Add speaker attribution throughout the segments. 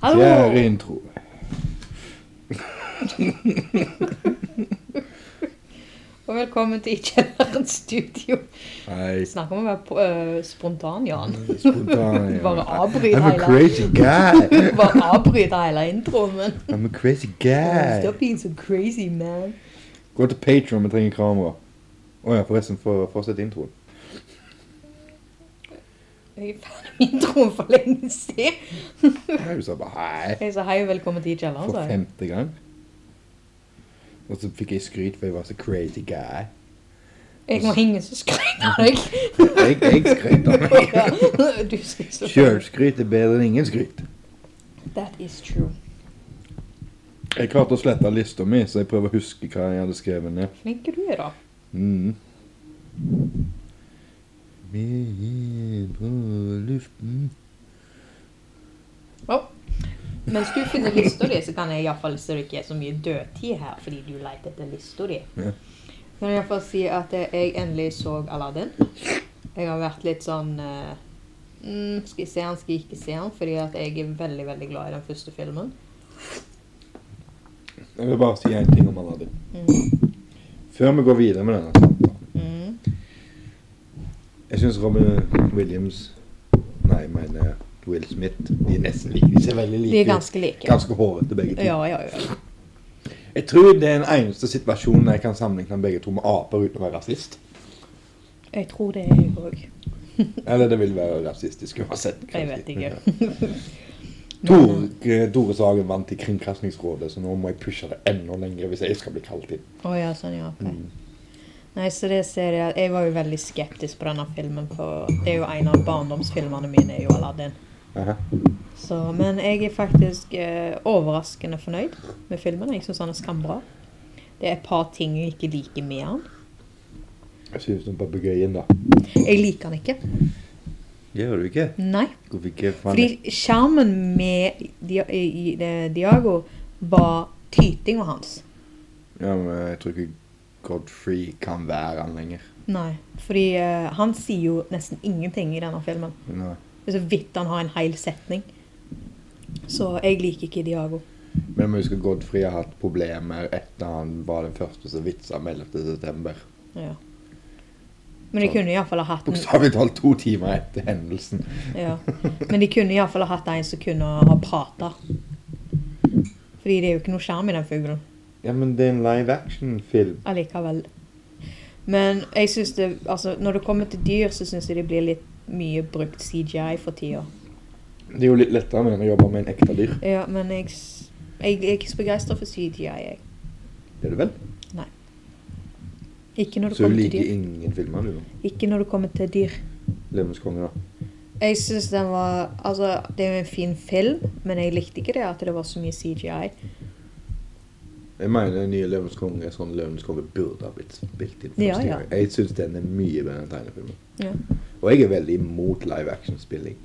Speaker 1: Hallo!
Speaker 2: Fjärde intro.
Speaker 1: Og velkommen til I kjelleren studio.
Speaker 2: Nei.
Speaker 1: Snakk om å være på- øh, spontan, Jan.
Speaker 2: Spontan.
Speaker 1: Du bare
Speaker 2: ja.
Speaker 1: avbryter
Speaker 2: I'm a
Speaker 1: hele,
Speaker 2: crazy guy.
Speaker 1: du bare avbryter hele introen min.
Speaker 2: I'm a crazy guy.
Speaker 1: Stop being so crazy, man.
Speaker 2: Gå til Patreon, vi trenger kamera. Å ja, forresten, for fortsett introen.
Speaker 1: Jeg er ferdig med introen for lenge siden.
Speaker 2: Nei, Du sa bare hei
Speaker 1: Jeg sa hei og velkommen til I kjelleren,
Speaker 2: for
Speaker 1: sa jeg.
Speaker 2: femte gang. Og så fikk jeg skryt for jeg var så crazy guy.
Speaker 1: Jeg var ingen som skrek av deg.
Speaker 2: Jeg, jeg skrøt av meg.
Speaker 1: Ja, Du skrek så
Speaker 2: Sjølskryt er bedre enn ingen skryt.
Speaker 1: That is true.
Speaker 2: Jeg klarte å slette lista mi, så jeg prøver å huske hva jeg hadde skrevet ned.
Speaker 1: Flink du er, da.
Speaker 2: Mm. Vi er på luften
Speaker 1: Ja. Mens du finner lista di, så kan jeg iallfall så det ikke er så mye dødtid her, fordi du leter etter lista di.
Speaker 2: Ja.
Speaker 1: Kan jeg iallfall si at eh, jeg endelig så Aladdin. Jeg har vært litt sånn eh, mm, Skal jeg se han, skal jeg ikke se han? Fordi at jeg er veldig, veldig glad i den første filmen.
Speaker 2: Jeg vil bare si én ting om Aladdin.
Speaker 1: Mm.
Speaker 2: Før vi går videre med denne samtalen.
Speaker 1: Mm.
Speaker 2: Jeg syns Robin Williams Nei, jeg mener Will Smith. De er nesten like. De ser veldig
Speaker 1: De
Speaker 2: like
Speaker 1: er ganske like.
Speaker 2: Ganske hårete, begge to.
Speaker 1: Ja, ja, ja.
Speaker 2: Jeg tror det er den eneste situasjonen jeg kan sammenligne begge to med aper uten å være rasist.
Speaker 1: Jeg tror det er jeg òg.
Speaker 2: Eller det vil være rasistisk uansett. kan
Speaker 1: Jeg
Speaker 2: si.
Speaker 1: vet ikke.
Speaker 2: Ja. Tor, eh, Tore Sagen vant i Kringkastingsrådet, så nå må jeg pushe det enda lenger hvis jeg skal bli kalt inn.
Speaker 1: Å ja, sånn, ja. ok.
Speaker 2: Mm.
Speaker 1: Nei, så det ser jeg Jeg var jo veldig skeptisk på denne filmen, for det er jo en av barndomsfilmene mine, er jo Aladdin.
Speaker 2: Aha.
Speaker 1: Så, men jeg er faktisk eh, overraskende fornøyd med filmen. Jeg syns han er skambra. Det er et par ting jeg ikke liker med han.
Speaker 2: Jeg synes om papegøyen, da.
Speaker 1: Jeg liker han ikke.
Speaker 2: Gjør du ikke?
Speaker 1: Nei.
Speaker 2: Hvorfor ikke? Faen,
Speaker 1: Fordi sjarmen med Dia i, i, eh, Diago var tytinga hans.
Speaker 2: Ja, men jeg tror ikke Godfrey kan være han lenger.
Speaker 1: Nei. Fordi eh, han sier jo nesten ingenting i denne filmen.
Speaker 2: Nei.
Speaker 1: Det er så vidt han har en hel setning. Så jeg liker ikke Diago.
Speaker 2: Men jeg må huske at Godfrey har hatt problemer etter han var den første som vitsa om 11. september.
Speaker 1: Ja. Men de kunne iallfall ha hatt en
Speaker 2: Bokstavelig talt to timer etter hendelsen.
Speaker 1: Ja. Men de kunne iallfall ha hatt en som kunne ha prata. Fordi det er jo ikke noe skjerm i den fuglen
Speaker 2: Ja, men det er en live action-film.
Speaker 1: allikevel. Men jeg synes det Altså, når det kommer til dyr, så syns jeg det blir litt mye brukt CGI for tida.
Speaker 2: Det er jo litt lettere med enn å jobbe med en ekte dyr.
Speaker 1: Ja, men jeg, s- jeg, jeg er ikke så begeistra for CGI, jeg.
Speaker 2: Er du vel?
Speaker 1: Ikke når det
Speaker 2: Så du
Speaker 1: kommer til
Speaker 2: liker
Speaker 1: dyr.
Speaker 2: ingen filmer, du? nå?
Speaker 1: Ikke når det kommer til dyr.
Speaker 2: Løvenes konge, da.
Speaker 1: Jeg syns den var Altså, det er jo en fin film, men jeg likte ikke det at det var så mye CGI.
Speaker 2: Jeg mener den nye Løvenes konge er sånn Løvenes konge burde ha blitt spilt inn.
Speaker 1: Ja,
Speaker 2: første
Speaker 1: ja.
Speaker 2: gang. Jeg syns den er mye bedre enn tegnefilmen.
Speaker 1: Ja.
Speaker 2: Og jeg er veldig imot live action-spilling.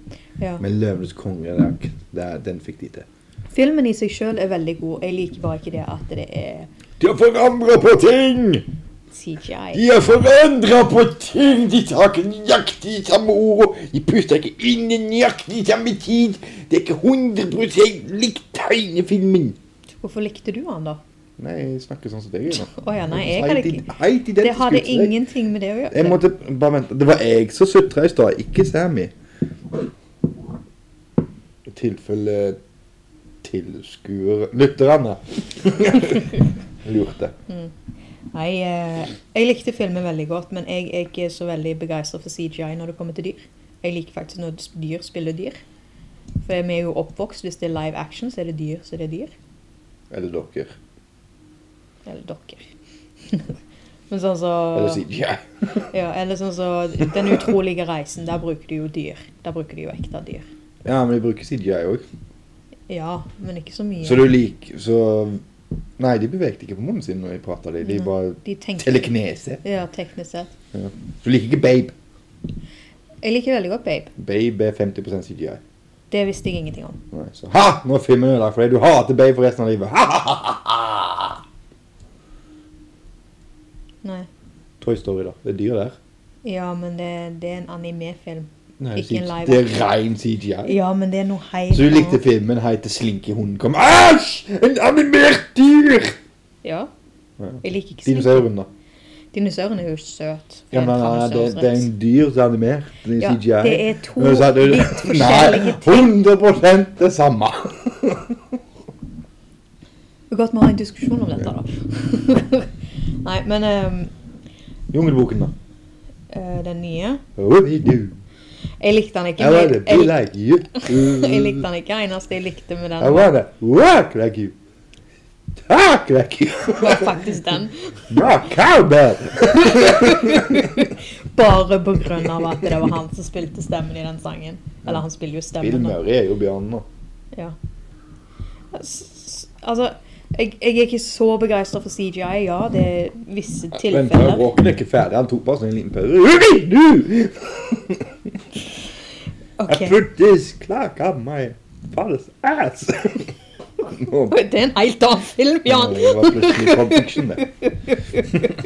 Speaker 1: Ja.
Speaker 2: Men Løvenes konge, der, der, den fikk de til.
Speaker 1: Filmen i seg sjøl er veldig god. Jeg liker bare ikke det at det er
Speaker 2: De har forandra på ting!
Speaker 1: CGI.
Speaker 2: De har forandra på ting! De tar ikke nøyaktig de samme ordene. De puster ikke inn i nøyaktig samme tid. Det er ikke 100 likt tegnefilmen.
Speaker 1: Hvorfor likte du han da?
Speaker 2: Nei, jeg snakker sånn som deg. gjør nå.
Speaker 1: Å ja, nei, jeg hadde ikke
Speaker 2: Helt identisk
Speaker 1: Det hadde
Speaker 2: ut til deg.
Speaker 1: ingenting med det å
Speaker 2: Jeg
Speaker 1: gjøre.
Speaker 2: måtte bare vente. Det var jeg som sutra i stad, ikke Sammy. I tilfelle tilskuere Lytterne lurte.
Speaker 1: Nei, eh, jeg likte filmen veldig godt, men jeg er ikke så veldig begeistra for CGI når det kommer til dyr. Jeg liker faktisk når dyr spiller dyr. For vi er jo oppvokst. Hvis det er live action, så er det dyr, så det er dyr.
Speaker 2: Eller dere.
Speaker 1: Eller dokker. Men sånn så
Speaker 2: Eller CGI.
Speaker 1: ja, Eller sånn så Den utrolige reisen, der bruker de jo dyr. Der bruker de jo ekte dyr.
Speaker 2: Ja, men de bruker CGI òg.
Speaker 1: Ja, men ikke så mye.
Speaker 2: Så du liker Så Nei, de bevegte ikke på munnen sin når jeg prata de. De
Speaker 1: Nei.
Speaker 2: bare
Speaker 1: De tenker
Speaker 2: teleknese.
Speaker 1: Ja, teknisk sett.
Speaker 2: Du liker ikke Babe.
Speaker 1: Jeg liker veldig godt Babe.
Speaker 2: Babe er 50 CGI.
Speaker 1: Det visste jeg ingenting om.
Speaker 2: Nei, så Ha! Nå er filmen ødelagt for deg. Du hater Babe for resten av livet. Ha, ha, ha, ha.
Speaker 1: Nei.
Speaker 2: Toy Story, da. Det er dyr der.
Speaker 1: Ja, men det, det er en animefilm.
Speaker 2: Nei,
Speaker 1: Ikke en live
Speaker 2: det er rein CGI.
Speaker 1: Ja, men det er noe helt
Speaker 2: Så du likte
Speaker 1: annet.
Speaker 2: filmen helt til Slinkehunden kom Æsj! En animert dyr!
Speaker 1: Ja.
Speaker 2: Ja.
Speaker 1: Jeg liker ikke slik.
Speaker 2: Dinosauren, da.
Speaker 1: Dinosauren er jo søt.
Speaker 2: Ja, men nei, det, det er en dyr som er animert. Det er
Speaker 1: sånn Ja,
Speaker 2: CGI.
Speaker 1: det er to
Speaker 2: Men så er det-
Speaker 1: vidt forskjellige
Speaker 2: Nei, 100 det samme.
Speaker 1: Det er godt vi har en diskusjon om dette, da. Nei, men ehm,
Speaker 2: Jungelboken, da.
Speaker 1: eh, den nye
Speaker 2: What do you do?
Speaker 1: Jeg likte den ikke.
Speaker 2: I
Speaker 1: men
Speaker 2: wanna
Speaker 1: jeg,
Speaker 2: be like you.
Speaker 1: jeg likte den ikke. Det eneste jeg likte med
Speaker 2: I
Speaker 1: den,
Speaker 2: wanna walk like you. Talk like you.
Speaker 1: var faktisk den.
Speaker 2: You're a cowbell.
Speaker 1: Bare på grunn av at det var han som spilte stemmen i den sangen. Eller han spiller jo
Speaker 2: Bill
Speaker 1: stemmen. da.
Speaker 2: Murray er jo bjørnen nå.
Speaker 1: S- s- Altså, jeg, jeg er ikke så begeistra for CGI. Ja, det er visse
Speaker 2: Vent,
Speaker 1: tilfeller.
Speaker 2: Walken er ikke ferdig. Han tok bare sånn en liten pause. What do you do? I
Speaker 1: Ok,
Speaker 2: put this clock up my father's ass. Nå
Speaker 1: Det er en helt annen film, Jan!
Speaker 2: Det var plutselig Pulp Fiction, det.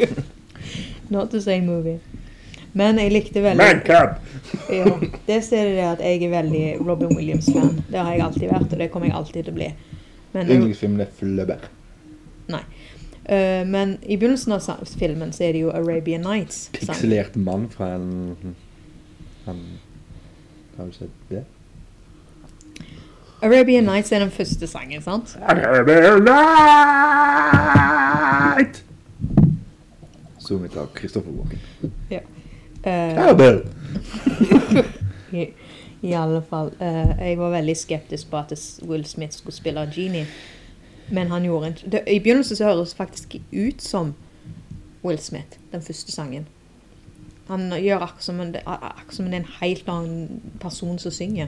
Speaker 1: Not the same movie. Men jeg likte veldig
Speaker 2: Man cub.
Speaker 1: ja, Det ser det at jeg er veldig Robin Williams-fan. Det har jeg alltid vært, og det kommer jeg alltid til å bli. Men,
Speaker 2: Yndlingsfilmen er Flubber.
Speaker 1: Sånn. øh, men i begynnelsen av sa- filmen så er det jo Arabian Nights. sant?
Speaker 2: Pikselert mann fra en Han Har du sett det?
Speaker 1: Arabian Nights er den første sangen, sant?
Speaker 2: Night! Sunget av Kristoffer Walken.
Speaker 1: Øh,
Speaker 2: Cowbell!
Speaker 1: I alle fall. eh, jeg var veldig skeptisk på at s- Will Smith skulle spille Genie. Men han gjorde en det, I begynnelsen så høres det faktisk ikke ut som Will Smith, den første sangen. Han gjør akkurat som, en, akkurat som om det er en helt annen person som synger.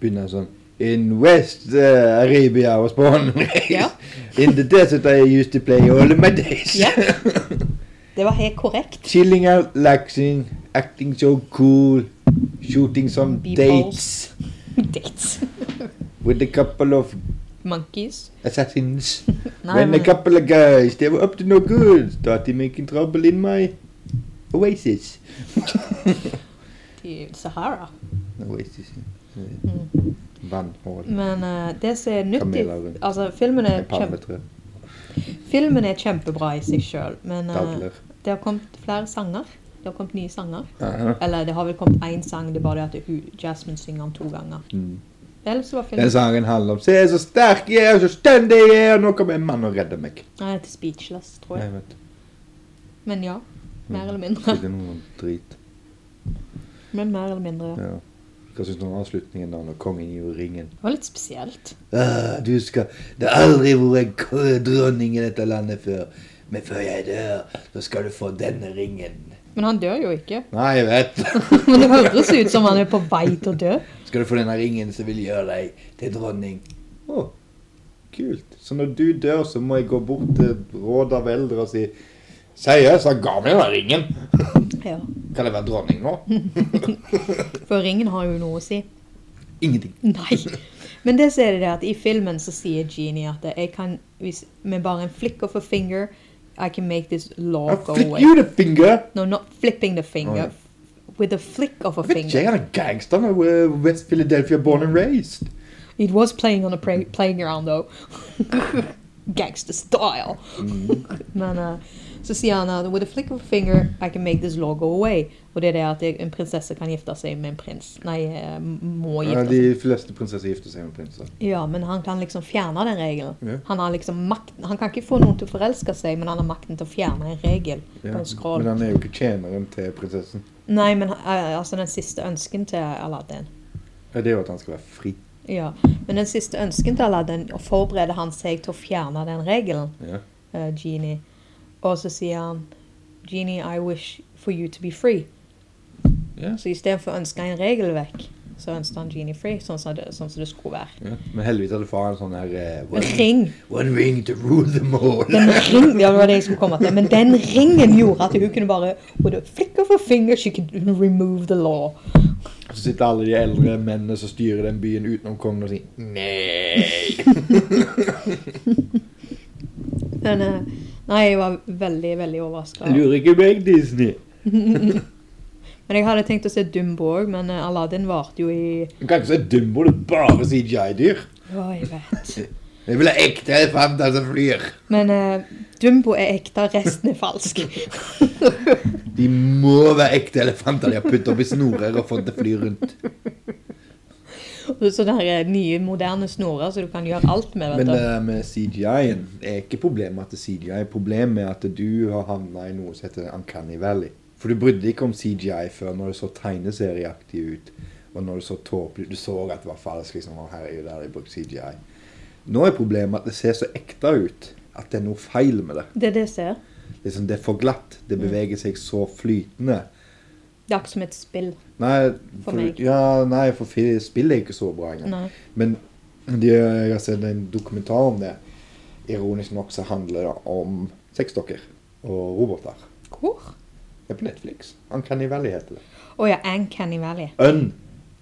Speaker 2: Begynner sånn In West uh, Arabia was born and raised.
Speaker 1: Ja.
Speaker 2: In the desert I used to play all of my days.
Speaker 1: Ja. Det var helt korrekt.
Speaker 2: Chilling out, relaxing, acting so cool, shooting some
Speaker 1: Meatballs.
Speaker 2: dates
Speaker 1: Dates.
Speaker 2: with a couple of
Speaker 1: Monkeys.
Speaker 2: assassins.
Speaker 1: Nei,
Speaker 2: When a
Speaker 1: men,
Speaker 2: couple of guys, they were up to no good, started making trouble in my oasis.
Speaker 1: i Sahara.
Speaker 2: Oasis. ja.
Speaker 1: Mm.
Speaker 2: eh, Vannhål.
Speaker 1: Men eh, det som er nytt i
Speaker 2: Kameler.
Speaker 1: Altså, filmen er, kjempe,
Speaker 2: Palmetre.
Speaker 1: filmen er kjempebra i seg sjøl, men eh,
Speaker 2: Dadler.
Speaker 1: det har kommet flere sanger. Det har kommet nye sanger.
Speaker 2: Aha.
Speaker 1: Eller det har vel kommet én sang, det er bare det at hun, Jasmine synger den to ganger.
Speaker 2: Mm.
Speaker 1: Ellers var
Speaker 2: Den
Speaker 1: filmen
Speaker 2: sangen handler om Se så sterk jeg er, så stendig jeg er, nå kommer en mann og redder meg.
Speaker 1: Nei, det er Speechless, tror jeg.
Speaker 2: Jeg vet
Speaker 1: Men ja. Mer eller
Speaker 2: Mm.
Speaker 1: mindre.
Speaker 2: ikke noe drit.
Speaker 1: Men mer eller mindre, ja.
Speaker 2: Ja. Hva syns du om avslutningen da, når kongen gjorde ringen?
Speaker 1: Det var litt spesielt.
Speaker 2: Ah, du skal Det har aldri vært en k- dronning i dette landet før. Men før jeg dør, så skal du få denne ringen.
Speaker 1: Men han dør jo ikke.
Speaker 2: Nei, jeg vet.
Speaker 1: Men det høres ut som han er på vei til å dø.
Speaker 2: Skal du få denne ringen som vil gjøre deg til dronning? Å, kult. Så når du dør, så må jeg gå bort til rådet av eldre og si Seriøst, han ga meg denne ringen.
Speaker 1: Ja.
Speaker 2: Kan jeg være dronning nå?
Speaker 1: Hm. For ringen har jo noe å si.
Speaker 2: Ingenting.
Speaker 1: Nei. Men det ser jeg det at i filmen så sier Genie at jeg kan, hvis, med bare en flick of a finger, I can make this law
Speaker 2: I
Speaker 1: go
Speaker 2: flick
Speaker 1: away.
Speaker 2: you the finger.
Speaker 1: No, not flipping the
Speaker 2: Oh,
Speaker 1: finger. With a flick of a
Speaker 2: Vet ikke,
Speaker 1: finger.
Speaker 2: jeg han er gangster med uh, West Philadelphia born and raised.
Speaker 1: It was playing on a pra- playground though. Gangster style.
Speaker 2: Mm-hmm.
Speaker 1: Men eh, så sier han at with a flick of a finger I can make this law go away. Og det er det at en prinsesse kan gifte seg med en prins. Nei, eh, må
Speaker 2: Ja,
Speaker 1: gifte seg.
Speaker 2: de fleste prinsesser gifter seg med prinser.
Speaker 1: Ja, men han kan liksom fjerne den regelen.
Speaker 2: Ja.
Speaker 1: Han har liksom makten. Han kan ikke få noen til å forelske seg, men han har makten til å fjerne en regel på
Speaker 2: Ja.
Speaker 1: en skrål.
Speaker 2: Men han er jo ikke tjeneren til prinsessen.
Speaker 1: Nei, men eh, altså den siste ønsken til Aladdin.
Speaker 2: Ja, Det er jo at han skal være fri.
Speaker 1: Ja, men den siste ønsken til Aladdin og forbereder han seg til å fjerne den regelen,
Speaker 2: Ja.
Speaker 1: eh, Genie. Og så sier han Genie, I wish for you to be free.
Speaker 2: Ja.
Speaker 1: Så istedenfor å ønske en regel vekk, så ønsket han Genie free, sånn som det, sånn som det skulle være.
Speaker 2: Ja. Men heldigvis hadde faren sånn her eh,
Speaker 1: En
Speaker 2: one,
Speaker 1: ring.
Speaker 2: one ring to rule them all.
Speaker 1: Den ring, ja, det var det jeg skulle komme til. Men den ringen gjorde at hun kunne bare With a flick of her finger, she could remove the law.
Speaker 2: Så sitter alle de eldre mennene som styrer den byen utenom kongen og sier nei.
Speaker 1: Men eh, Nei, jeg var veldig, veldig overraska.
Speaker 2: Lurer ikke meg, Disney.
Speaker 1: Men jeg hadde tenkt å se Dumbo òg, men eh, Aladdin varte jo i
Speaker 2: Du kan ikke se Dumbo, det er bare CGI-dyr.
Speaker 1: Å, jeg vet.
Speaker 2: Det vil ha ekte elefanter som flyr.
Speaker 1: Men eh, Dumbo er ekte, resten er falsk.
Speaker 2: De må være ekte elefanter de har puttet opp i snorer og fått til å fly rundt.
Speaker 1: Og Sånne her, eh, nye, moderne snorer så du kan gjøre alt med.
Speaker 2: Men eh,
Speaker 1: vet du.
Speaker 2: det med CGI-en er ikke problemet at det er CGI. Problemet er at du har havnet i noe som heter Uncanny Valley. For du brydde deg ikke om CGI før når det så tegneserieaktig ut. Og når det så tåpelig Du så at det var falsk. liksom, og her er jo der de brukte CGI. Nå er problemet at det ser så ekte ut at det er noe feil med det.
Speaker 1: Det er det jeg ser.
Speaker 2: Liksom, det er for glatt. Det
Speaker 1: Mm.
Speaker 2: beveger seg så flytende.
Speaker 1: Det er akkurat som et spill.
Speaker 2: Nei,
Speaker 1: For
Speaker 2: for,
Speaker 1: meg.
Speaker 2: ja, nei, for fi- spillet er ikke så bra engang.
Speaker 1: Nei.
Speaker 2: Men de, jeg har sett en dokumentar om det. Ironisk nok så handler det om sexdokker og roboter.
Speaker 1: Hvor?
Speaker 2: Det er på Netflix. Uncanny Valley heter det.
Speaker 1: Å ja, Uncanny Valley.
Speaker 2: Un.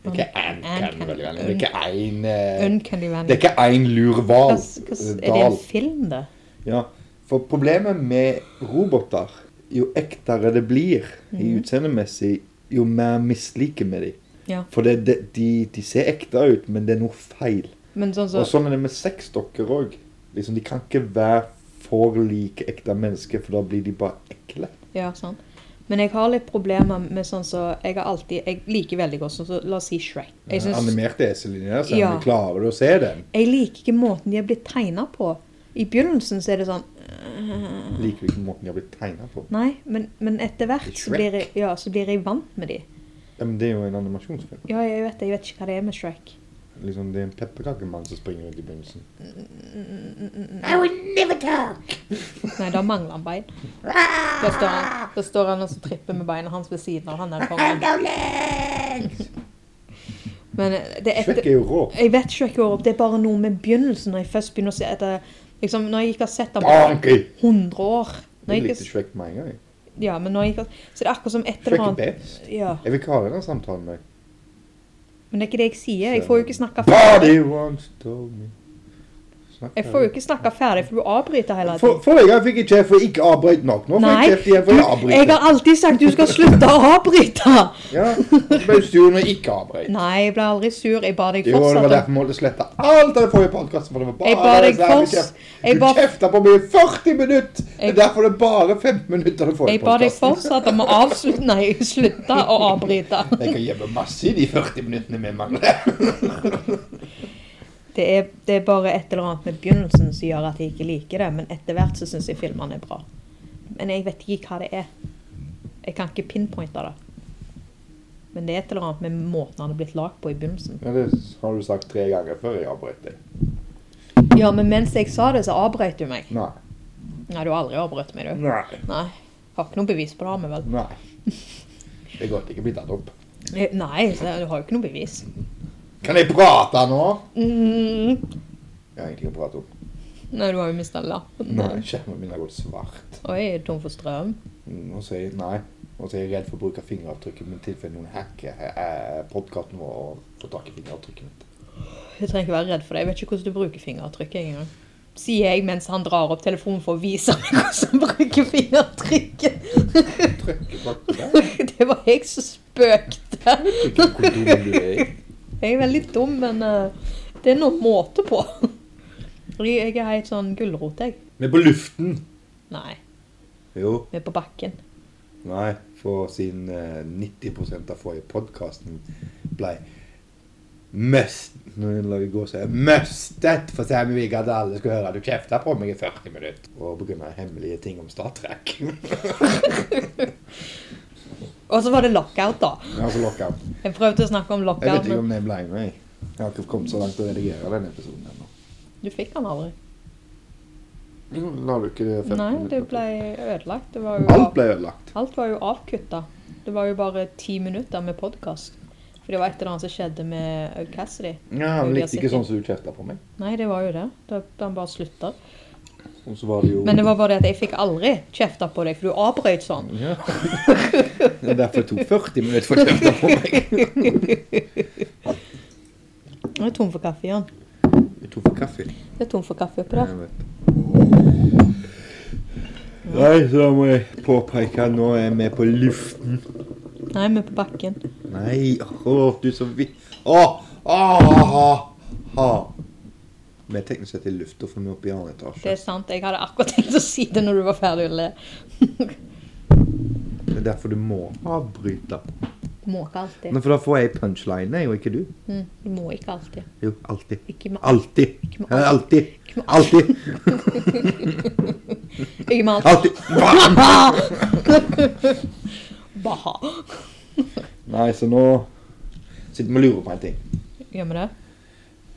Speaker 2: Ikke Uncanny
Speaker 1: Uncanny.
Speaker 2: Valley. men Det er ikke en, eh,
Speaker 1: Uncanny
Speaker 2: det er
Speaker 1: Valley.
Speaker 2: ikke en lur
Speaker 1: Hva,
Speaker 2: hval.
Speaker 1: hva,
Speaker 2: eh,
Speaker 1: er det en
Speaker 2: Dal.
Speaker 1: film, det?
Speaker 2: Ja. For problemet med roboter, jo ektere det blir
Speaker 1: Mm.
Speaker 2: i utseendemessig, jo mer misliker vi dem.
Speaker 1: Ja.
Speaker 2: For det, det, de, de ser ekte ut, men det er noe feil.
Speaker 1: Men sånn
Speaker 2: Og
Speaker 1: som
Speaker 2: sånn er det med sexdokker òg. Liksom, de kan ikke være for like ekte mennesker, for da blir de bare ekle.
Speaker 1: Ja, sant. Men jeg har litt problemer med sånn som Jeg har alltid Jeg liker veldig godt sånn som La oss si Shrek. Jeg, synes,
Speaker 2: Animerte esellinjer, så
Speaker 1: Ja.
Speaker 2: ja. klarer du å se den.
Speaker 1: jeg liker ikke måten de er blitt tegna på. I begynnelsen så er det sånn øh,
Speaker 2: Liker du ikke måten de har blitt tegna på?
Speaker 1: Nei, men, men etter hvert så
Speaker 2: Shrek.
Speaker 1: blir, jeg, ja, så blir jeg vant med de.
Speaker 2: Ja, men det er jo en animasjonsfilm.
Speaker 1: Ja, jeg vet, det, jeg vet ikke hva det er med Shrek.
Speaker 2: Liksom, det er en pepperkakemann som springer ut i begynnelsen.
Speaker 3: I would never talk.
Speaker 1: Nei, da mangler han bein. Da står han, da står han og så tripper med beina hans ved siden av han der
Speaker 3: I
Speaker 1: kongen.
Speaker 3: no legs.
Speaker 1: Men eh, det er
Speaker 2: Shrek
Speaker 1: etter
Speaker 2: er jo rå.
Speaker 1: Jeg vet Shrek går opp. Det er bare noe med begynnelsen. Når jeg først begynner å se etter liksom, Når jeg ikke har sett ham på
Speaker 2: Donkey!
Speaker 1: 100 år når
Speaker 2: Jeg
Speaker 1: jeg
Speaker 2: likte
Speaker 1: ikke,
Speaker 2: Shrek med en gang. jeg.
Speaker 1: ja, men når jeg ikke, har- Så det er akkurat som etter det
Speaker 2: Shrek
Speaker 1: var
Speaker 2: er best.
Speaker 1: ja.
Speaker 2: Jeg vil ikke ha denne samtalen med deg.
Speaker 1: Men det er ikke det jeg sier. Jeg får jo ikke snakka ferdig.
Speaker 2: Body once told me Snakk
Speaker 1: Jeg får jo ikke snakka ferdig, for du avbryter hele
Speaker 2: For-
Speaker 1: tiden.
Speaker 2: Forrige gang fikk jeg kjeft for ikke avbryt nok. Nå får
Speaker 1: Nei,
Speaker 2: jeg kjeft igjen
Speaker 1: du,
Speaker 2: for å avbryte.
Speaker 1: jeg har alltid sagt du skal slutte å avbryte!
Speaker 2: Ja, så ble du sur når jeg ikke avbrøt.
Speaker 1: Nei, jeg ble aldri sur. Jeg ba deg
Speaker 2: Jo, det var
Speaker 1: fortsette.
Speaker 2: derfor jeg måtte slette alt av det forrige podkasten. For det var bare
Speaker 1: Jeg ba deg
Speaker 2: så jævlig
Speaker 1: forts-
Speaker 2: kjeft.
Speaker 1: jeg
Speaker 2: Du
Speaker 1: ba-
Speaker 2: kjefta på meg i 40 minutter! Det
Speaker 1: Jeg-
Speaker 2: er derfor det er bare 15 minutter av den
Speaker 1: Jeg
Speaker 2: forrige
Speaker 1: ba deg
Speaker 2: podkasten.
Speaker 1: fortsette med å avslutte Nei, slutte å avbryte.
Speaker 2: Jeg kan gjemme masse i de 40 minuttene vi mangler.
Speaker 1: Det er, det er bare et eller annet med begynnelsen som gjør at jeg ikke liker det, men etter hvert så syns jeg filmene er bra. Men jeg vet ikke hva det er. Jeg kan ikke pinpointe det. Men det er et eller annet med måten han er blitt lagd på i begynnelsen.
Speaker 2: Ja, det har du sagt tre ganger før jeg avbrøt deg.
Speaker 1: Ja, men mens jeg sa det, så avbrøt du meg.
Speaker 2: Nei.
Speaker 1: Nei, du har aldri avbrøt meg, du.
Speaker 2: Nei.
Speaker 1: Nei. Har ikke noe bevis på det, har vi vel?
Speaker 2: Nei. Det er godt jeg ikke blir tatt opp.
Speaker 1: Eh, Nei, så du har jo ikke noe bevis.
Speaker 2: Kan jeg prate nå?
Speaker 1: Mm.
Speaker 2: Jeg har ingenting å prate om.
Speaker 1: Nei, du har jo mista lappen.
Speaker 2: Nei, Skjermen min har gått svart.
Speaker 1: Oi, er du tom for strøm?
Speaker 2: Nå sier jeg nei. Og så er jeg redd for å bruke fingeravtrykket mitt i tilfelle noen hacker eh, podkasten vår og får tak i fingeravtrykket mitt.
Speaker 1: Du trenger ikke være redd for det. Jeg vet ikke hvordan du bruker fingeravtrykket engang. Sier jeg mens han drar opp telefonen for å vise meg hvordan han bruker fingeravtrykket.
Speaker 2: Trykker bak på der.
Speaker 1: Det var jeg som spøkte.
Speaker 2: Trykker hvor dum du er.
Speaker 1: Jeg er veldig dum, men eh, det er noen måte på. Fordi Jeg er helt sånn gulrot, jeg.
Speaker 2: Vi er på luften.
Speaker 1: Nei,
Speaker 2: Jo.
Speaker 1: vi er på bakken.
Speaker 2: Nei, for siden eh, 90 av forrige podkasten ble mest Nå lager jeg gåsehud. Møstet for Samvik at alle skulle høre at du kjefta på meg i 40 minutter. Og på grunn av hemmelige ting om Star Trek.
Speaker 1: Og så var det lockout, da.
Speaker 2: altså lockout.
Speaker 1: Jeg prøvde å snakke om
Speaker 2: Jeg vet
Speaker 1: lockout,
Speaker 2: ikke
Speaker 1: men
Speaker 2: om det ble med. Jeg har ikke kommet så langt å redigere den episoden ennå.
Speaker 1: du fikk han aldri.
Speaker 2: Jo, La du ikke det 15
Speaker 1: Nei, det
Speaker 2: minutter?
Speaker 1: ble ødelagt. Det var jo
Speaker 2: Alt ble ødelagt.
Speaker 1: Alt var jo avkutta. Det var jo bare ti minutter med podkast. For det var et eller annet som skjedde med Aud Cassidy.
Speaker 2: Ja, Han
Speaker 1: Vi har
Speaker 2: likte ikke
Speaker 1: sett
Speaker 2: sånn som du kjefta på meg.
Speaker 1: Nei, det var jo det. Da Han bare slutta.
Speaker 2: Og så var det jo
Speaker 1: Men det var bare det at jeg fikk aldri kjefta på deg, for du avbrøt sånn.
Speaker 2: Ja. Det er derfor det tok 40 minutter for å kjefte på meg.
Speaker 1: Jeg er tom for kaffe igjen.
Speaker 2: Jeg tok for kaffe.
Speaker 1: Det er tom for kaffe oppi der.
Speaker 2: Jeg vet. Nei, så da må jeg påpeke at nå er vi på luften.
Speaker 1: Nei, vi er på bakken.
Speaker 2: Nei, åh, du er så vidt. Åh, åh, åh, åh, åh. Vi er teknisk sett i lufta, for vi er oppe i annen
Speaker 1: Det
Speaker 2: etasje.
Speaker 1: er sant. Jeg hadde akkurat tenkt å si det når du var ferdig å le.
Speaker 2: Det er derfor du må avbryte.
Speaker 1: Må ikke alltid.
Speaker 2: Nei, for da får jeg punchline, jeg, og ikke du.
Speaker 1: Mm, du må ikke alltid.
Speaker 2: Jo, alltid.
Speaker 1: Ikke med alt.
Speaker 2: Alltid.
Speaker 1: Ikke med alt.
Speaker 2: Alltid.
Speaker 1: Ikke med alt.
Speaker 2: Alltid.
Speaker 1: Ikke med alt.
Speaker 2: Alltid. Bah!
Speaker 1: Baha.
Speaker 2: Nei, så nå sitter vi og lurer på en ting.
Speaker 1: Gjør vi det?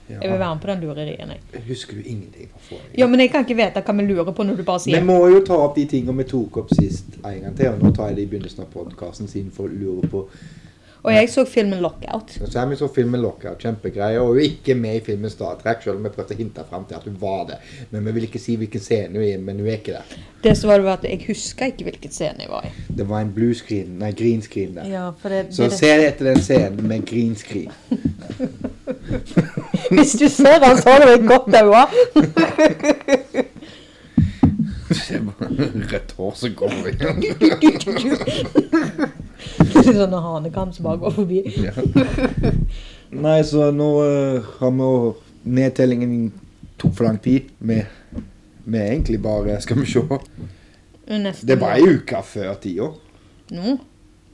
Speaker 2: Ja.
Speaker 1: Jeg vil være med på den lurerien, jeg.
Speaker 2: Husker du ingenting fra forrige?
Speaker 1: Ja, men jeg kan ikke vite hva vi lurer på når du bare
Speaker 2: Vi
Speaker 1: sier
Speaker 2: må jo ta opp de tingene vi tok opp sist en gang til. Og nå tar jeg det i begynnelsen av podkasten siden for å lure på
Speaker 1: Og jeg så filmen Lockout.
Speaker 2: Så er vi så filmen Lockout, kjempegreie. Og hun er ikke med i filmen Star Trek, selv om vi prøvde å hinte fram til at hun var det. Men vi vil ikke si hvilken scene hun er i, men hun er ikke det.
Speaker 1: Det som var det var at jeg husker ikke hvilken scene jeg var i.
Speaker 2: Det var en blue screen, nei, green screen der.
Speaker 1: Ja, for det,
Speaker 2: Så se etter den scenen med green screen.
Speaker 1: Hvis du ser han, så har du et godt øye.
Speaker 2: Se bare rødt hår som går over.
Speaker 1: Sånne sånn hanekam som bare går forbi.
Speaker 2: Ja. Nei, så nå eh, har vi jo- Nedtellingen tok for lang tid. Vi vi er egentlig bare Skal vi se.
Speaker 1: Nesten
Speaker 2: Det var ei uke før tida.
Speaker 1: Nå?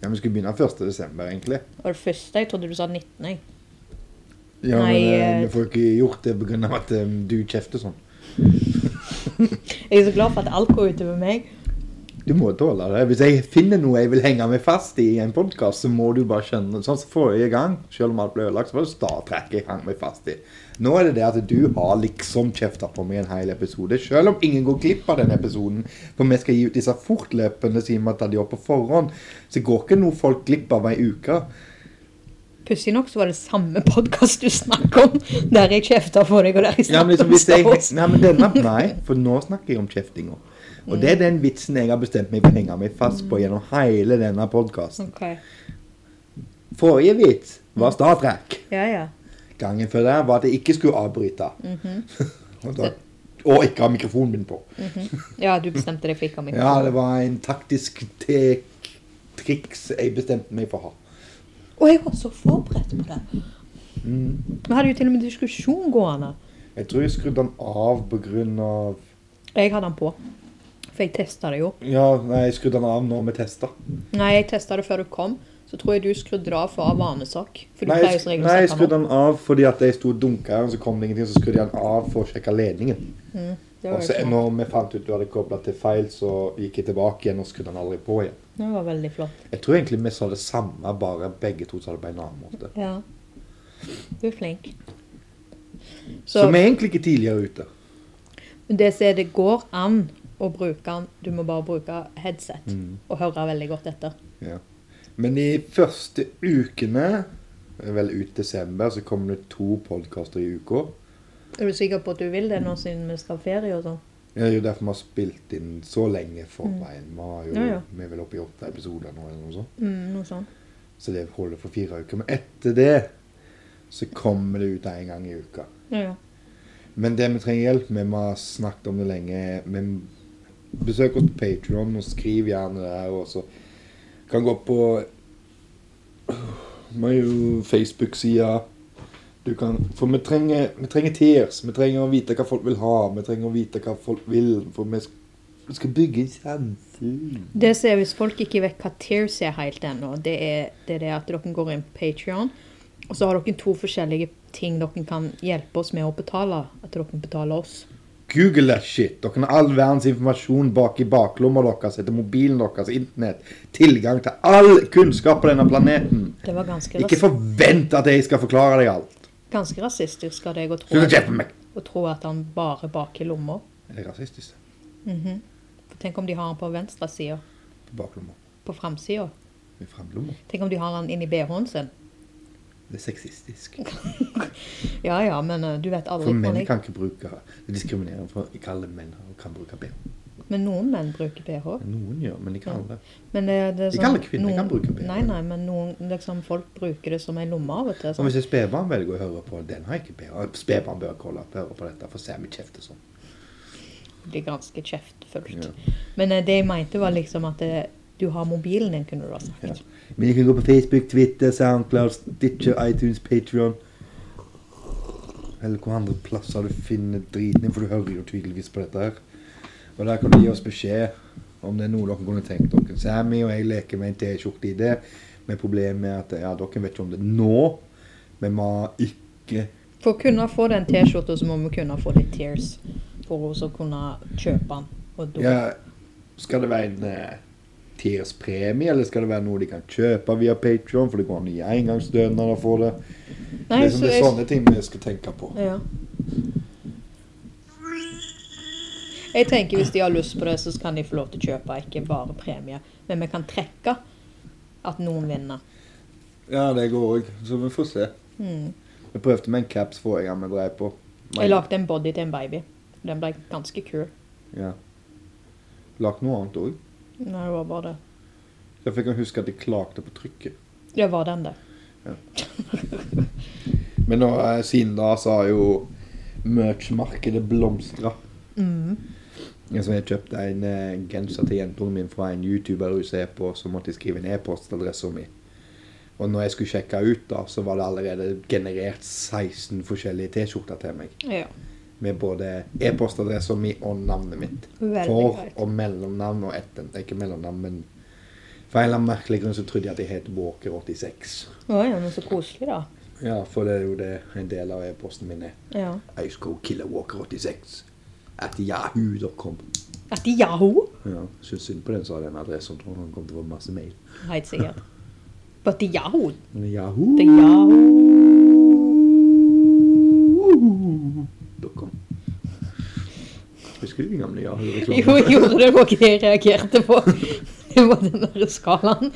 Speaker 2: Ja, vi skulle begynne 1. desember, egentlig.
Speaker 1: Og det første, jeg trodde du sa 19, jeg.
Speaker 2: Ja,
Speaker 1: Nei,
Speaker 2: men eh,
Speaker 1: eh,
Speaker 2: vi får ikke gjort det pga. at eh, du kjefter sånn.
Speaker 1: Jeg er så glad for at alt går utover meg.
Speaker 2: Du må tåle det. Hvis jeg finner noe jeg vil henge meg fast i i en podkast, så må du bare skjønne Sånn som forrige gang, selv om alt ble ødelagt, så var det Star Trek jeg hang meg fast i. Nå er det det at du har liksom kjefta på meg en hel episode, selv om ingen går glipp av den episoden. For vi skal gi ut disse fortløpende, siden vi har tatt de opp på forhånd. Så går ikke noe folk glipp av ei uke.
Speaker 1: Pussig nok så var det samme podkast du snakker om, der jeg kjefta på deg, og der jeg
Speaker 2: Ja, men
Speaker 1: snakket
Speaker 2: liksom,
Speaker 1: om
Speaker 2: hvis
Speaker 1: Star
Speaker 2: jeg,
Speaker 1: Wars.
Speaker 2: nei, men denne, nei, for nå snakker jeg om kjeftinga. Og det er den vitsen jeg har bestemt meg for å henge meg fast på gjennom hele denne podkasten.
Speaker 1: Ok.
Speaker 2: Forrige vits var Star Trek.
Speaker 1: Ja, ja.
Speaker 2: Gangen før der var at jeg ikke skulle avbryte. og, da, og ikke ha mikrofonen min på.
Speaker 1: Ja, du bestemte deg for ikke å ha
Speaker 2: Ja,
Speaker 1: mikrofon.
Speaker 2: det var en taktisk te- triks jeg bestemte meg for å ha.
Speaker 1: Og jeg var så forberedt på det. Vi hadde jo til og med diskusjon gående.
Speaker 2: Jeg tror jeg skrudde den av på grunn av
Speaker 1: Jeg hadde den på. For jeg testa det jo.
Speaker 2: Ja, nei, jeg skrudde den av når vi testa.
Speaker 1: Nei, jeg testa det før du kom. Så tror jeg du skrudde det av for å ha vanesak. For du
Speaker 2: Nei,
Speaker 1: pleier
Speaker 2: jeg,
Speaker 1: som
Speaker 2: sk-
Speaker 1: regel
Speaker 2: nei,
Speaker 1: å
Speaker 2: jeg
Speaker 1: sette
Speaker 2: skrudde
Speaker 1: den opp.
Speaker 2: den av fordi at jeg sto og dunka, og så kom det ingenting, så skrudde jeg den av for å sjekke ledningen.
Speaker 1: Det
Speaker 2: Og
Speaker 1: var,
Speaker 2: så
Speaker 1: jo smart.
Speaker 2: når vi fant ut du hadde kobla til feil, så gikk jeg tilbake igjen og skrudde den aldri på igjen.
Speaker 1: det var veldig flott.
Speaker 2: Jeg tror egentlig vi sa det samme, bare begge to sa det på en annen måte.
Speaker 1: Ja. Du er flink.
Speaker 2: Så,
Speaker 1: Så
Speaker 2: vi er egentlig ikke tidligere ute.
Speaker 1: det som er det går an å bruke den, du må bare bruke headset
Speaker 2: Mm.
Speaker 1: og høre veldig godt etter.
Speaker 2: Ja. Men de første ukene, vel ut desember, så kommer det to podkaster i uka.
Speaker 1: Er du sikker på at du vil det nå siden vi skal ha ferie og sånn?
Speaker 2: Det er jo derfor vi har spilt inn så lenge forveien. Vi har jo,
Speaker 1: Ja, ja.
Speaker 2: vi er vel oppe i åtte episoder nå, eller noe sånt.
Speaker 1: Mm, noe sånt.
Speaker 2: Så det holder for fire uker. Men etter det så kommer det ut en gang i uka.
Speaker 1: Ja, ja.
Speaker 2: Men det vi trenger hjelp med, vi har snakket om det lenge men Besøk oss på Patron og skriv gjerne der. Og så kan gå på Vi har jo Facebook-sida. Du kan For vi trenger, vi trenger tears. Vi trenger å vite hva folk vil ha. Vi trenger å vite hva folk vil. For vi sk- vi skal bygge en samfunn.
Speaker 1: Det som er hvis folk ikke vet hva Tears er helt ennå, det er det, er det at dere går inn på Patreon, og så har dere to forskjellige ting dere kan hjelpe oss med å betale. At dere betaler oss.
Speaker 2: Google that shit. Dere har all verdens informasjon bak i baklomma deres, etter mobilen deres, internett. Tilgang til all kunnskap på denne planeten.
Speaker 1: Det var ganske,
Speaker 2: Ikke
Speaker 1: ras
Speaker 2: forvent at jeg skal forklare deg alt.
Speaker 1: ganske rasistisk av deg å tro,
Speaker 2: Slutt å kjefte på meg.
Speaker 1: å tro at han bare baker lommer. Mhm.
Speaker 2: Er det rasistisk?
Speaker 1: For Tenk om de har han på venstre sida,
Speaker 2: På baklomma.
Speaker 1: på framsida.
Speaker 2: I framlomma.
Speaker 1: Tenk om de har han inni bh-en sin.
Speaker 2: Det er sexistisk.
Speaker 1: Ja ja, men eh, du vet aldri.
Speaker 2: For menn
Speaker 1: hvordan jeg-
Speaker 2: kan ikke bruke Det er diskriminerende for ikke alle menn har- kan bruke BH.
Speaker 1: Men noen menn bruker bh.
Speaker 2: Noen gjør, men ikke alle.
Speaker 1: Men eh, det, det er sånn
Speaker 2: Ikke alle kvinner kan bruke BH.
Speaker 1: Nei, nei, men noen, liksom, folk bruker det som ei lomme av og til.
Speaker 2: Og
Speaker 1: Sånn.
Speaker 2: hvis et spedbarn velger å høre på Den har ikke BH. Spedbarn bør ikke holde opp høre på dette, for Sammy kjefter sånn.
Speaker 1: Det blir ganske kjeftfullt.
Speaker 2: Ja.
Speaker 1: Men eh, det jeg mente var liksom at det, Du har mobilen din, kunne du ha sagt.
Speaker 2: Men jeg kan gå på Facebook, Twitter, Soundcloud, Stitcher, iTunes, Patreon. Eller hvor andre plasser du finner driten din, for du hører jo tydeligvis på dette her. Og der kan du gi oss beskjed om det er noe dere kunne tenkt dere. Sammy og jeg leker med en T-skjorte i det, men problemet er at ja, dere vet ikke om det nå, men vi har ikke
Speaker 1: For å kunne få den T-skjorta, så må vi kunne få litt tears. For å så kunne kjøpe den. Og da
Speaker 2: ja, Skal det være en eh, Tears-premie, eller skal det være noe de kan kjøpe via Patreon, for det går an å gi engangsstønader for det?
Speaker 1: Nei,
Speaker 2: det,
Speaker 1: så
Speaker 2: er sånn- det er
Speaker 1: jeg,
Speaker 2: sånne ting vi skal tenke på.
Speaker 1: ja. jeg tenker hvis de har lyst på det, så kan de få lov til å kjøpe, ikke bare premie. Men vi kan trekke at noen vinner.
Speaker 2: Ja, det går òg, så vi får se.
Speaker 1: Mm.
Speaker 2: Vi prøvde med en caps forrige gang vi drev på.
Speaker 1: Jeg lagde en body til en baby. Den ble ganske kul.
Speaker 2: Ja. Lagt noe annet òg.
Speaker 1: Nei, det var bare det.
Speaker 2: Jeg fikk huske at jeg klagde på trykket.
Speaker 1: Det var den, det.
Speaker 2: Men nå, eh, siden da så har jo merch-markedet blomstra. Jeg, så jeg kjøpte en eh, genser til jentungen min fra en YouTuber hun ser på, så måtte jeg skrive en e-postadresse min. Og når jeg skulle sjekke ut, da, så var det allerede generert 16 forskjellige T-skjorter til meg.
Speaker 1: Ja.
Speaker 2: Med både e-postadressen min og navnet mitt.
Speaker 1: Veldig
Speaker 2: For
Speaker 1: greit.
Speaker 2: og mellomnavn og etten. Ikke mellomnavn, men for en eller annen merkelig grunn så trodde jeg at jeg het Walker86.
Speaker 1: Å ja, men så koselig, da.
Speaker 2: Ja, for det er jo det en del av e-posten min er.
Speaker 1: Ja.
Speaker 2: I just go kill a Walker86. At yahoo.com.
Speaker 1: At de Yahoo?
Speaker 2: Ja, syns synd på den som har den adressen. Tror han kommer til å få masse mail.
Speaker 1: Helt sikkert. But the Yahoo.
Speaker 2: Men
Speaker 1: The
Speaker 2: Yahoo!
Speaker 1: Yahoo.
Speaker 2: dot com. Husker du den gamle Yahoo-reklamen?
Speaker 1: Jo, jeg gjorde det, det var ikke det jeg reagerte på. Det var den der skalaen.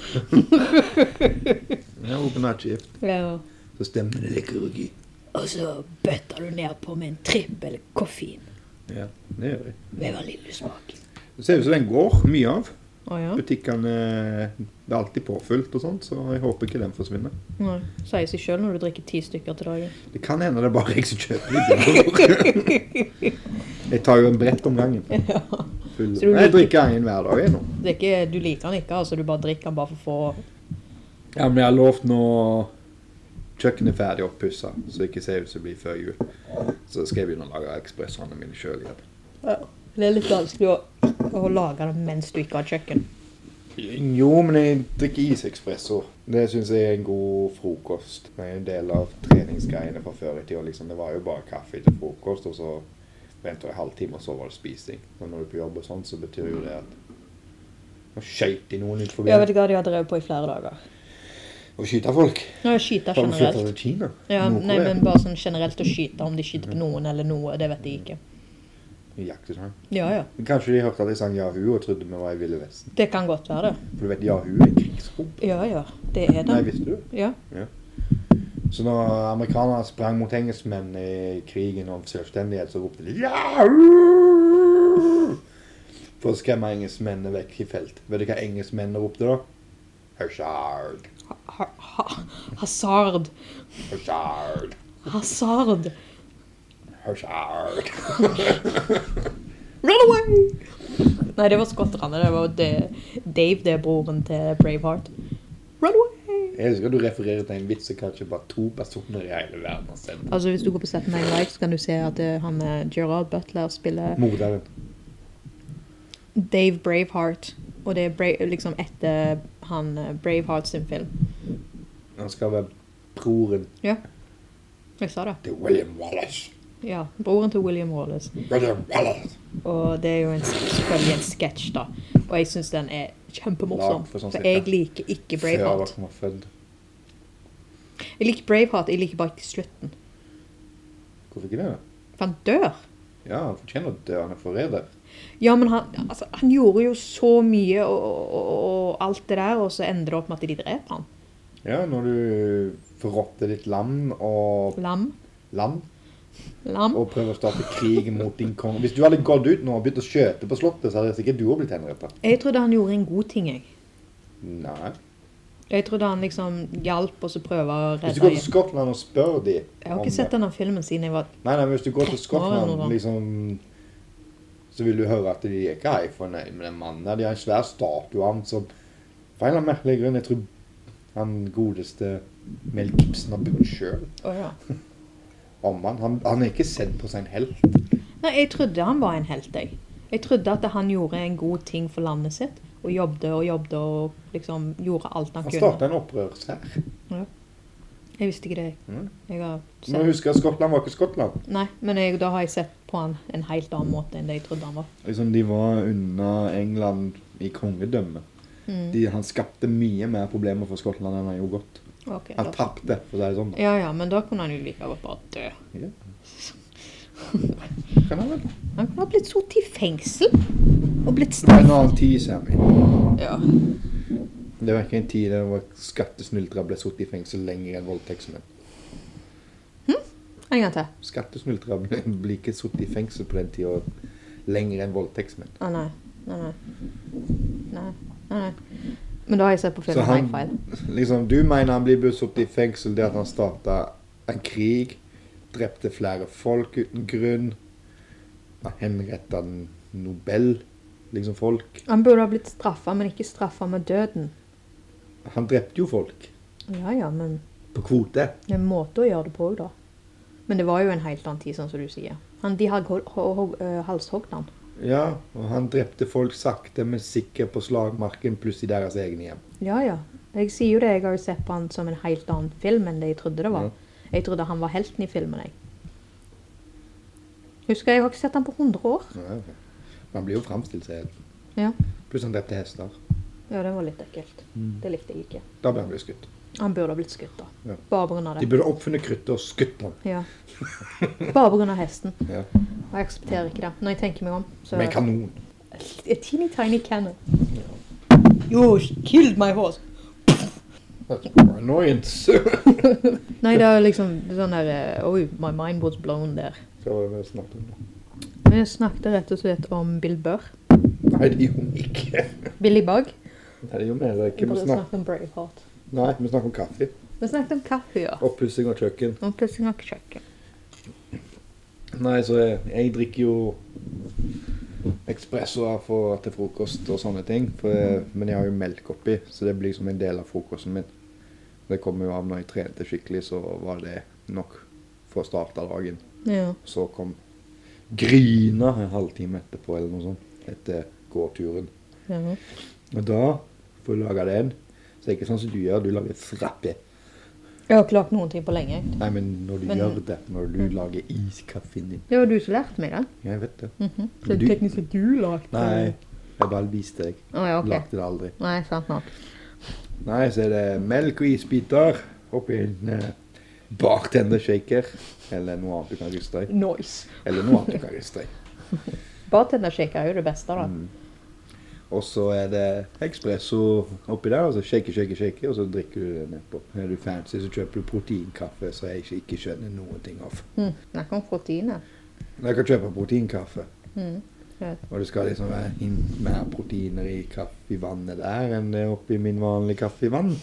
Speaker 2: Ja, open night shift.
Speaker 1: Ja.
Speaker 2: Så stemmer det likurgi.
Speaker 1: Og så bøtter du ned på med en trippel koffein
Speaker 2: Ja, det gjør jeg.
Speaker 1: med vaniljesmak.
Speaker 2: Det ser ut som den går mye av.
Speaker 1: Å ja?
Speaker 2: Butikkene Det er alltid påfylt og sånt, så jeg håper ikke den forsvinner.
Speaker 1: Nei. Sier seg sjøl når du drikker ti stykker til dagen.
Speaker 2: Det kan hende det er bare jeg som kjøper litt. jeg tar jo en brett om gangen. Full.
Speaker 1: Så du
Speaker 2: Nei, Jeg
Speaker 1: liker-
Speaker 2: drikker en hver dag, jeg nå.
Speaker 1: Det er ikke, du liker den ikke, altså. Du bare drikker den bare for å få
Speaker 2: Ja, men jeg har lovt når kjøkkenet er ferdig oppussa, så det ikke ser ut som det blir før jul, så skal jeg begynne å lage ekspressene mine sjøl igjen.
Speaker 1: Ja. Det er litt vanskelig å, å lage det mens du ikke har kjøkken.
Speaker 2: Jo, men jeg drikker isekspresso. Det syns jeg er en god frokost. Det er jo en del av treningsgreiene fra før i tida. Liksom. Det var jo bare kaffe til frokost, og så venta jeg en halvtime, og så var det spising. Og når du er på jobb og sånn, så betyr jo det at Nå skøyt de noen ut forbi.
Speaker 1: Jeg vet ikke hva de har drevet på i flere dager.
Speaker 2: Og skyte folk.
Speaker 1: Nå er skyte
Speaker 2: Har du flytta
Speaker 1: generelt.
Speaker 2: til Kina?
Speaker 1: Ja,
Speaker 2: Nordkorea?
Speaker 1: nei, men bare sånn generelt å skyte, om de skyter på noen eller noe, det vet jeg ikke.
Speaker 2: Jaktet han.
Speaker 1: Ja, ja.
Speaker 2: Kanskje de hørte at jeg sang Yahoo og trodde vi var i Ville Vesten.
Speaker 1: Det kan godt være det.
Speaker 2: For du vet, Yahoo er en krigshop.
Speaker 1: Ja, ja. Det er
Speaker 2: Nei,
Speaker 1: det.
Speaker 2: visste du det?
Speaker 1: Ja.
Speaker 2: Så når amerikanerne sprang mot engelskmenn i krigen om selvstendighet, så ropte de «Yahoo!» For å skremme engelskmennene vekk i felt. Vet du hva engelskmennene ropte da? Hushard!
Speaker 1: Ha, ha, hasard.
Speaker 2: Hushard!
Speaker 1: Hasard.
Speaker 2: Hushard!
Speaker 1: Run away! Nei, det var skotterne. Det var det, Dave, det er broren til Braveheart. Run away!
Speaker 2: Jeg elsker at du refererer til en vits som kanskje bare to personer i hele verden har sendt.
Speaker 1: Altså, hvis du går på Set Nine Live, så kan du se at eh, han eh, Gerard Butler spiller
Speaker 2: Morderen.
Speaker 1: Dave Braveheart. Og det er Bra- liksom etter han eh, Braveheart sin film.
Speaker 2: Han skal være broren
Speaker 1: Jeg sa det.
Speaker 2: til William Wallace.
Speaker 1: Ja. Broren til William Wallace.
Speaker 2: William Wallace!
Speaker 1: Og det er jo en, selvfølgelig en sketsj, da. Og jeg syns den er kjempemorsom.
Speaker 2: Lag for sånn
Speaker 1: For
Speaker 2: cirka.
Speaker 1: jeg liker ikke Braveheart.
Speaker 2: Før han var født.
Speaker 1: Jeg liker Braveheart, jeg liker bare ikke slutten.
Speaker 2: Hvorfor ikke det? da?
Speaker 1: For han dør.
Speaker 2: Ja, han fortjener å dø. Han er forræder.
Speaker 1: Ja, men han, altså, han gjorde jo så mye og, og, og alt det der, og så ender det opp med at de dreper han.
Speaker 2: Ja, når du forrotter ditt land og
Speaker 1: Lam.
Speaker 2: land
Speaker 1: Lam.
Speaker 2: og prøver å starte krig mot din konge Hvis du hadde gått ut nå og begynt å skjøte på slottet, så hadde sikkert du òg blitt henrettet.
Speaker 1: Jeg trodde han gjorde en god ting, jeg.
Speaker 2: Nei.
Speaker 1: Jeg trodde han liksom hjalp og så prøve å
Speaker 2: Hvis du
Speaker 1: redde
Speaker 2: går til Skottland og spør de
Speaker 1: Jeg har ikke sett denne filmen siden jeg var
Speaker 2: Nei, nei, men hvis du går til
Speaker 1: Nå er det
Speaker 2: Skottland,
Speaker 1: noe.
Speaker 2: liksom så vil du høre at de er ikke hei fornøyd med den mannen. der. De har en svær statue av ham som For en eller annen merkelig grunn. Jeg tror han godeste Mel Gibson har bygd sjøl
Speaker 1: Å ja.
Speaker 2: om han. han. Han er ikke sett på som en helt.
Speaker 1: Nei, jeg trodde han var en helt, jeg. Jeg trodde at han gjorde en god ting for landet sitt. Og jobbet og jobbet og liksom gjorde alt han,
Speaker 2: Han
Speaker 1: kunne.
Speaker 2: starta en opprørshær.
Speaker 1: Jeg visste ikke det.
Speaker 2: Mm.
Speaker 1: Jeg har
Speaker 2: Du må
Speaker 1: sett.
Speaker 2: huske at Skottland var ikke Skottland.
Speaker 1: Nei, men jeg, da har jeg sett på han en helt annen måte enn det jeg trodde han var.
Speaker 2: Liksom, de var unna England i kongedømme.
Speaker 1: Mm.
Speaker 2: De, han skapte mye mer problemer for Skottland enn han gjorde godt.
Speaker 1: Ok,
Speaker 2: Han
Speaker 1: da.
Speaker 2: tapte, for å si det sånn.
Speaker 1: Ja ja, men da kunne han jo like godt bare dø.
Speaker 2: Kan han vel?
Speaker 1: Han kunne ha blitt sittet i fengsel og blitt
Speaker 2: Det var en
Speaker 1: straffet.
Speaker 2: annen tid, Sammy.
Speaker 1: Ja.
Speaker 2: Det var ikke en tid der hvor skattesnyltere ble sittet i fengsel lenger enn voldtektsmenn.
Speaker 1: En gang til.
Speaker 2: Skattesnyltere ble, ble ikke sittet i fengsel på den tida lenger enn voldtektsmenn.
Speaker 1: Å nei. Nei, nei. Nei, nei. nei. Men da har jeg sett på
Speaker 2: Så
Speaker 1: filmen
Speaker 2: han-
Speaker 1: High Five.
Speaker 2: Liksom, du mener han blir sittet i fengsel det at han starta en krig, drepte flere folk uten grunn, henretta Nobel, liksom folk.
Speaker 1: Han burde ha blitt straffa, men ikke straffa med døden.
Speaker 2: Han drepte jo folk
Speaker 1: Ja ja, men
Speaker 2: på kvote.
Speaker 1: det er en måte å gjøre det på òg, da. Men det var jo en helt annen tid, sånn som du sier. Han, de har hol- ho- ho- eh, halshogd han.
Speaker 2: Ja, og han drepte folk sakte, men sikkert på slagmarken, pluss i deres egne hjem.
Speaker 1: Ja ja. Jeg sier jo det, jeg har jo sett på han som en helt annen film enn det jeg trodde det var. Jeg trodde han var helten i filmen, jeg. Husker jeg, jeg har ikke sett han på 100 år.
Speaker 2: Ja, ok. Man blir jo framstilt som helt.
Speaker 1: Ja.
Speaker 2: Pluss han drepte hester.
Speaker 1: Ja, det var litt ekkelt.
Speaker 2: Mm.
Speaker 1: Det likte jeg ikke.
Speaker 2: Da ble han blitt skutt.
Speaker 1: Han burde ha blitt skutt, da.
Speaker 2: Ja.
Speaker 1: Bare pga.
Speaker 2: De
Speaker 1: det.
Speaker 2: burde oppfunnet kruttet og skutt han.
Speaker 1: Ja. Bare pga. hesten.
Speaker 2: Ja.
Speaker 1: Og jeg aksepterer ikke det. Når jeg tenker meg om, så
Speaker 2: Med en kanon.
Speaker 1: A teeny tiny cannon. You killed my horse.
Speaker 2: That's more annoyance.
Speaker 1: Nei, det er liksom sånn der eh, Oi, my mind was blown der.
Speaker 2: Så var det vi snakket om det.
Speaker 1: Vi snakket rett og slett om Bill Burr.
Speaker 2: Nei, det gjorde vi ikke.
Speaker 1: Billy Bug.
Speaker 2: Nei, det gjorde vi heller
Speaker 1: Vi
Speaker 2: ikke. Vi
Speaker 1: burde
Speaker 2: snakker,
Speaker 1: snakke om Braveheart.
Speaker 2: nei, vi snakker om kaffe.
Speaker 1: Vi snakket om kaffe, ja.
Speaker 2: Oppussing av kjøkken.
Speaker 1: Og pussing av kjøkken.
Speaker 2: Nei, så jeg, jeg drikker jo espressoer for- til frokost og sånne ting. For, jeg- men jeg har jo melk oppi, så det blir som en del av frokosten min. Det kommer jo av når jeg trente skikkelig, så var det nok for å starte dagen.
Speaker 1: Ja.
Speaker 2: Så kom Grina en halvtime etterpå eller noe sånt. Etter gåturen.
Speaker 1: ja.
Speaker 2: Og da får du lage den. Så det er ikke sånn som du gjør, du lager frappe.
Speaker 1: Jeg har ikke lagd noen ting på lenge. jeg.
Speaker 2: Nei, men når du
Speaker 1: Men-
Speaker 2: gjør det, når du lager iskaffen din
Speaker 1: Det var du som lærte meg det.
Speaker 2: Jeg vet det.
Speaker 1: Mhm.
Speaker 2: Men
Speaker 1: Så
Speaker 2: du-
Speaker 1: teknisk sett du lagde
Speaker 2: Nei, jeg bare viste deg.
Speaker 1: Å ja, ok.
Speaker 2: Lagde det aldri.
Speaker 1: Nei, sant nok.
Speaker 2: Nei, så er det melk og isbiter oppi en eh, bartendershaker. Eller noe annet du kan riste i.
Speaker 1: Nice.
Speaker 2: Eller noe annet du kan riste i.
Speaker 1: Bartendershaker er jo det beste, da.
Speaker 2: Mm. Og så er det espresso oppi der, og så shake, shake, shake, og så drikker du det nedpå. Er du fancy, så kjøper du proteinkaffe, som jeg ikke, ikke skjønner noen ting av.
Speaker 1: Mm. Snakk om proteiner.
Speaker 2: Men jeg kan kjøpe proteinkaffe,
Speaker 1: Mm.
Speaker 2: og det skal liksom være in- mer proteiner i kaffe i vannet der enn det er oppi min vanlige kaffe i vann.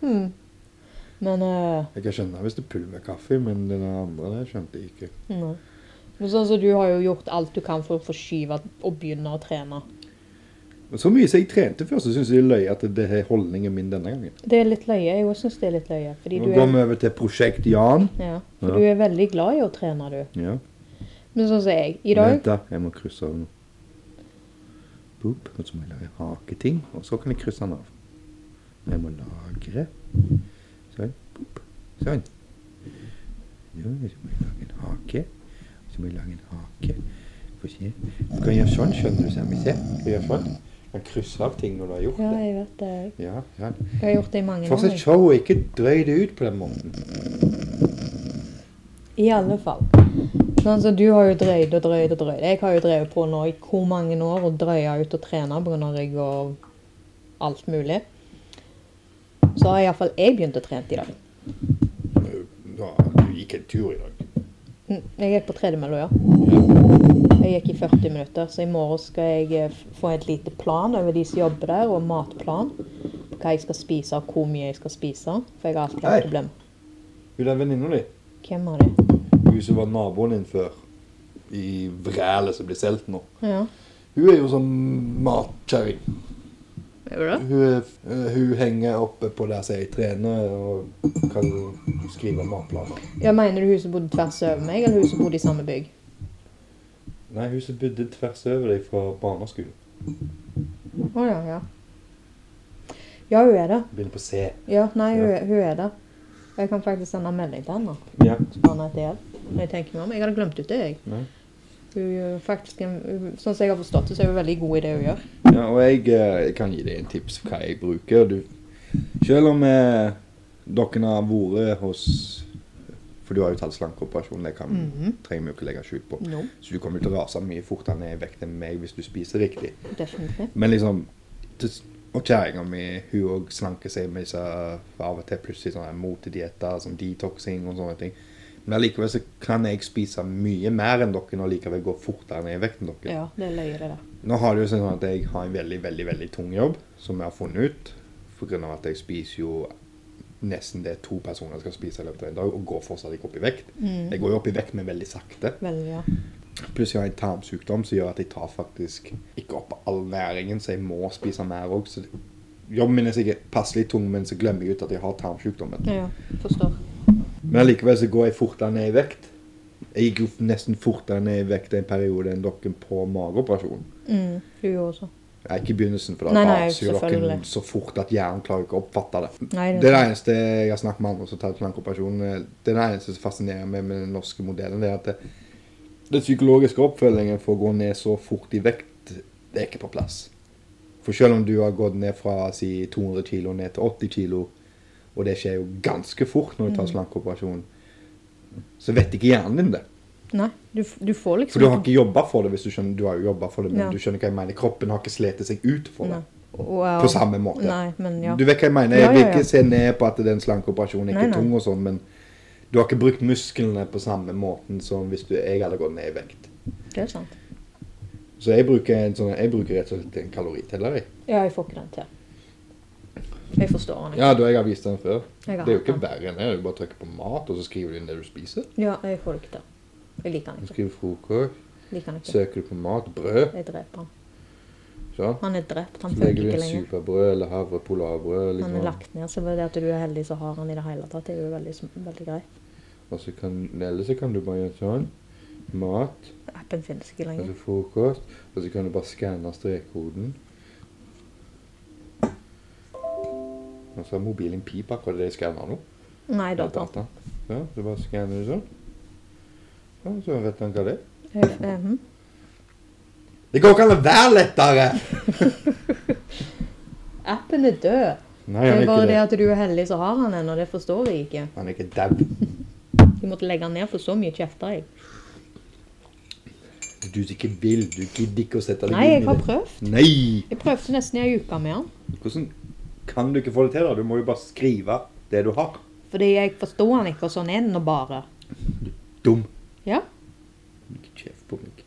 Speaker 1: Mm. Men eh,
Speaker 2: Jeg kan skjønne hvis det er pulverkaffe, men den andre der skjønte jeg ikke.
Speaker 1: nei. Men sånn som Du har jo gjort alt du kan for å forskyve og begynne å trene.
Speaker 2: Men så mye som jeg trente før, så syns jeg det er løye at det er holdningen min denne gangen.
Speaker 1: Det er litt løye. Jeg også syns det er litt løye. Fordi
Speaker 2: Nå
Speaker 1: du
Speaker 2: går
Speaker 1: er,
Speaker 2: vi over til Prosjekt Jan.
Speaker 1: ja, for
Speaker 2: Ja.
Speaker 1: du er veldig glad i å trene, du.
Speaker 2: Ja.
Speaker 1: Men sånn som jeg i dag
Speaker 2: Vent da, jeg må krysse av noe. Boop, og så må jeg lage haketing, og så kan jeg krysse den av. Jeg må lagre. Sånn, boop, sånn. Ja, så må jeg lage en hake. Så må jeg lage en hake. Få se. Du kan gjøre sånn, skjønner du, Sammy. Se, du kan gjøre sånn. Du kan krysse av ting når du har gjort
Speaker 1: Ja,
Speaker 2: det.
Speaker 1: jeg vet det. jeg.
Speaker 2: Ja, sånn.
Speaker 1: Jeg har gjort det i mange år.
Speaker 2: Fortsett
Speaker 1: jeg.
Speaker 2: showet, ikke drøy det ut på den måten.
Speaker 1: I alle fall. Sånn som du har jo drøyd og drøyd og drøyd. Jeg har jo drevet på nå i hvor mange år og drøya ut og trene pga. rygg og alt mulig. Så har iallfall jeg begynt å trene i dag.
Speaker 2: Ja, du gikk en tur i dag.
Speaker 1: Mm, Jeg gikk på tredemølla, ja. Jeg gikk i 40 minutter, så i morgen skal jeg eh, f- få et lite plan over de som jobber der, og matplan. Hva jeg skal spise, og hvor mye jeg skal spise. For jeg har alltid
Speaker 2: Hei.
Speaker 1: hatt problemer.
Speaker 2: Hun er venninna di.
Speaker 1: Hvem var det?
Speaker 2: Hun som var naboen din før, i vrælet som blir solgt nå.
Speaker 1: Ja.
Speaker 2: Hun er jo sånn matkjerring.
Speaker 1: Gjør du det?
Speaker 2: Hun, er- eh, hun henger oppe på der som jeg trener, og kan skrive matplaner.
Speaker 1: Ja, Mener du hun som bodde tvers over meg, eller hun som bodde i samme bygg?
Speaker 2: Nei, hun som bodde tvers over deg fra barneskolen.
Speaker 1: Å ja, ja. Ja, hun er det.
Speaker 2: Begynner på C.
Speaker 1: Ja, nei, hun,
Speaker 2: Ja.
Speaker 1: er- hun er det. Jeg kan faktisk sende en melding til henne.
Speaker 2: Ja.
Speaker 1: Anna heter jeg. Når jeg tenker meg om. Jeg hadde glemt ut det, jeg.
Speaker 2: Nei.
Speaker 1: Hun er faktisk en, hun, Sånn som jeg har forstått det, så er hun veldig god i det hun gjør.
Speaker 2: Ja, og jeg, eh, jeg kan gi deg en tips hva jeg bruker. Du, selv om eh, dere har vært hos For du har jo tatt slankeoperasjon, det kan,
Speaker 1: Mhm.
Speaker 2: trenger vi jo ikke legge skjul på.
Speaker 1: No,
Speaker 2: Så du kommer til å rase mye fortere ned i vekt enn meg hvis du spiser riktig.
Speaker 1: definitivt.
Speaker 2: Men liksom til- Og kjerringa mi hun òg slanker seg med disse av og til plutselig sånne motedietter som detoxing og sånne ting. Men allikevel så kan jeg spise mye mer enn dere og likevel gå fortere ned i vekt enn dere.
Speaker 1: Ja, det er løye, det der.
Speaker 2: Nå har det jo sånn at jeg har en veldig, veldig, veldig tung jobb, som jeg har funnet ut. På grunn av at jeg spiser jo nesten det to personer skal spise i løpet av en dag, og går fortsatt ikke opp i vekt. Jeg går jo opp i vekt, men veldig sakte.
Speaker 1: Mm. Veldig, ja.
Speaker 2: Pluss jeg har en tarmsykdom som gjør at jeg tar faktisk ikke opp all næringen, så jeg må spise mer òg. Så det- jobben min er sikkert passelig tung, men så glemmer jeg ut at jeg har tarmsykdommen.
Speaker 1: Ja, ja. Forstår.
Speaker 2: Men allikevel så går jeg fortere ned i vekt. Jeg gikk jo nesten fortere ned i vekt en periode enn dere på mageoperasjonen.
Speaker 1: Mm, du gjør også.
Speaker 2: Nei, ikke i begynnelsen, for
Speaker 1: Nei,
Speaker 2: da
Speaker 1: nei,
Speaker 2: avsyr dere
Speaker 1: selvfølgelig.
Speaker 2: så fort at hjernen klarer ikke å oppfatte det.
Speaker 1: Nei,
Speaker 2: Det er det eneste jeg har snakket med andre som tar slankeoperasjon. Det er det eneste som fascinerer meg med den norske modellen, det er at det, den psykologiske oppfølgingen for å gå ned så fort i vekt, det er ikke på plass. For selv om du har gått ned fra si 200 kilo ned til 80 kilo, og det skjer jo ganske fort når
Speaker 1: Mm.
Speaker 2: du tar slankeoperasjon, så vet ikke hjernen din det.
Speaker 1: Nei, du, f- du får liksom
Speaker 2: For du har ikke jobba for det, hvis du skjønner. Du har jo jobbet for det, men
Speaker 1: Ja.
Speaker 2: du skjønner hva jeg mener. Kroppen har ikke slitt seg ut for det.
Speaker 1: Nei. Wow.
Speaker 2: På samme måte.
Speaker 1: Nei, men ja.
Speaker 2: Du vet hva jeg mener.
Speaker 1: Ja,
Speaker 2: Jeg vil
Speaker 1: ja, ja.
Speaker 2: ikke se ned på at den slankeoperasjonen ikke
Speaker 1: Nei,
Speaker 2: er
Speaker 1: nei.
Speaker 2: tung, og sånn, men du har ikke brukt musklene på samme måten som hvis du, jeg hadde gått ned i vekt.
Speaker 1: Det er sant.
Speaker 2: Så jeg bruker, en sånn, jeg bruker rett og slett en kaloriteller. jeg.
Speaker 1: Ja, jeg får ikke den til. Jeg forstår den ikke.
Speaker 2: Ja, da jeg har vist den før.
Speaker 1: Jeg har
Speaker 2: Det er
Speaker 1: hatt
Speaker 2: jo
Speaker 1: den.
Speaker 2: ikke verre enn det. Du bare trykker på mat, og så skriver du inn det du spiser.
Speaker 1: Ja, jeg får det ikke til. Jeg liker den
Speaker 2: Du
Speaker 1: ikke.
Speaker 2: skriver frokost,
Speaker 1: Liker den ikke.
Speaker 2: søker du på mat, brød,
Speaker 1: Jeg dreper han.
Speaker 2: sånn.
Speaker 1: Han er drept. Han
Speaker 2: Så
Speaker 1: føler
Speaker 2: legger du
Speaker 1: ikke
Speaker 2: inn
Speaker 1: lenger.
Speaker 2: superbrød eller havre, polarbrød,
Speaker 1: Han er
Speaker 2: liksom.
Speaker 1: lagt ned, så bare det at du er heldig så har han i det hele tatt, det er jo veldig, sm- veldig greit.
Speaker 2: Og så kan, eller så kan du bare gjøre sånn. Mat,
Speaker 1: Appen finnes ikke
Speaker 2: og
Speaker 1: lenger.
Speaker 2: så frokost, og så kan du bare skanne strekkoden. Og så har mobilen pip akkurat det jeg skanner nå.
Speaker 1: Nei,
Speaker 2: Det er
Speaker 1: data.
Speaker 2: data. Ja, så bare skanner du sånn. Ja, så vet han hva det er.
Speaker 1: Eh, eh, hm.
Speaker 2: Det går ikke an å være lettere!
Speaker 1: Appen er død. Det
Speaker 2: Nei, han er
Speaker 1: er
Speaker 2: ikke
Speaker 1: bare det
Speaker 2: det.
Speaker 1: at du er heldig så har han en, og det forstår jeg ikke.
Speaker 2: Han er ikke dau.
Speaker 1: Vi måtte legge han ned for så mye kjefter jeg.
Speaker 2: Du som ikke vil. Du gidder ikke å sette deg
Speaker 1: Nei, jeg
Speaker 2: inn i
Speaker 1: har
Speaker 2: det.
Speaker 1: prøvd.
Speaker 2: Nei!
Speaker 1: Jeg prøvde nesten i ei uke med han.
Speaker 2: Hvordan kan du ikke få det til? da? Du må jo bare skrive det du har.
Speaker 1: Fordi jeg forsto han ikke, og sånn er den nå bare.
Speaker 2: Dum.
Speaker 1: Ja.
Speaker 2: Ikke kjeft på meg.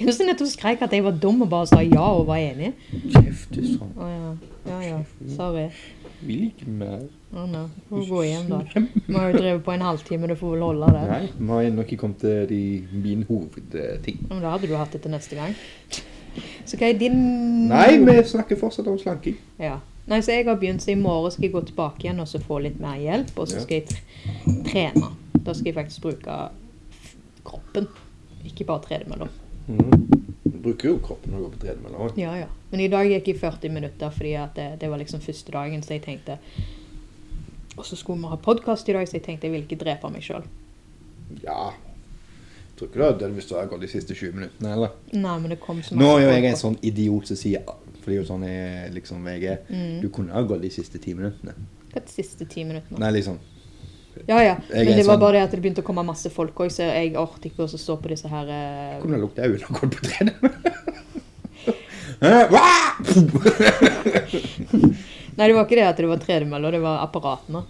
Speaker 1: Hvem som nettopp skreik at jeg var dum og bare sa ja og var enig?
Speaker 2: Kjeft du sånn.
Speaker 1: Å ja. Ja ja. Sorry.
Speaker 2: Vil ikke mer.
Speaker 1: Å nei. Får gå hjem, da. Vi har jo drevet på en halvtime, du får vel holde det.
Speaker 2: Nei, vi har ennå ikke kommet til de, min hovedting.
Speaker 1: Ja, Men da hadde du hatt det til neste gang. Så hva er din
Speaker 2: Nei, vi snakker fortsatt om slanking.
Speaker 1: Ja. Nei, så jeg har begynt, så i morgen skal jeg gå tilbake igjen og så få litt mer hjelp. Og så
Speaker 2: Ja.
Speaker 1: skal jeg t- trene. Da skal jeg faktisk bruke f- kroppen, ikke bare tredemølla.
Speaker 2: Mm. Du bruker jo kroppen når du går på tredemølla òg.
Speaker 1: Ja, ja. Men i dag gikk jeg 40 minutter, fordi at det, det var liksom første dagen, så jeg tenkte Og så skulle vi ha podkast i dag, så jeg tenkte jeg ville ikke drepe meg sjøl.
Speaker 2: Ja. Tror ikke du hadde dødd hvis du hadde gått de siste 20 minuttene, eller?
Speaker 1: Nei, men det kom så
Speaker 2: Nå er jo
Speaker 1: folk
Speaker 2: jeg en
Speaker 1: på-
Speaker 2: sånn idiot som sier For det er jo sånn jeg, liksom, jeg er. Du kunne ha gått de siste ti minuttene.
Speaker 1: Hva er de siste ti minuttene?
Speaker 2: sånn- Nei, liksom.
Speaker 1: Ja, ja.
Speaker 2: Jeg er
Speaker 1: Men det var
Speaker 2: sånn-
Speaker 1: bare det at det begynte å komme masse folk òg, så jeg orket ikke å stå på disse her eh,
Speaker 2: Kunne ha lukta øl og gått på tredemølla. Eh, wah!
Speaker 1: Nei, det var ikke det at det var tredemølla, det var apparatene.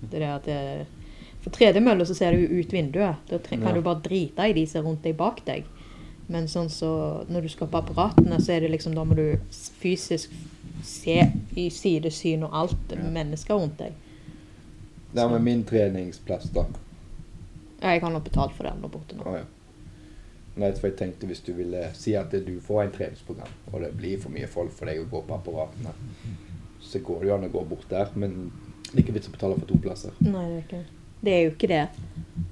Speaker 1: Det er det at det, for tredemølla så ser du jo ut vinduet. Da tre, kan
Speaker 2: Ja.
Speaker 1: du bare drite i de som er rundt deg bak deg. Men sånn så, når du skal på apparatene, så er det liksom da må du s- fysisk se i sidesyn og alt mennesker rundt deg.
Speaker 2: Det er med min treningsplass, da.
Speaker 1: Ja, jeg har nå betalt for det her borte nå.
Speaker 2: Å ja. Nei, for jeg tenkte hvis du ville si at du får en treningsprogram, og det blir for mye folk for deg å gå på apparatene, så går det jo an å gå bort der, men det er ikke vits å betale for to plasser.
Speaker 1: Nei, det er ikke det. er jo ikke det.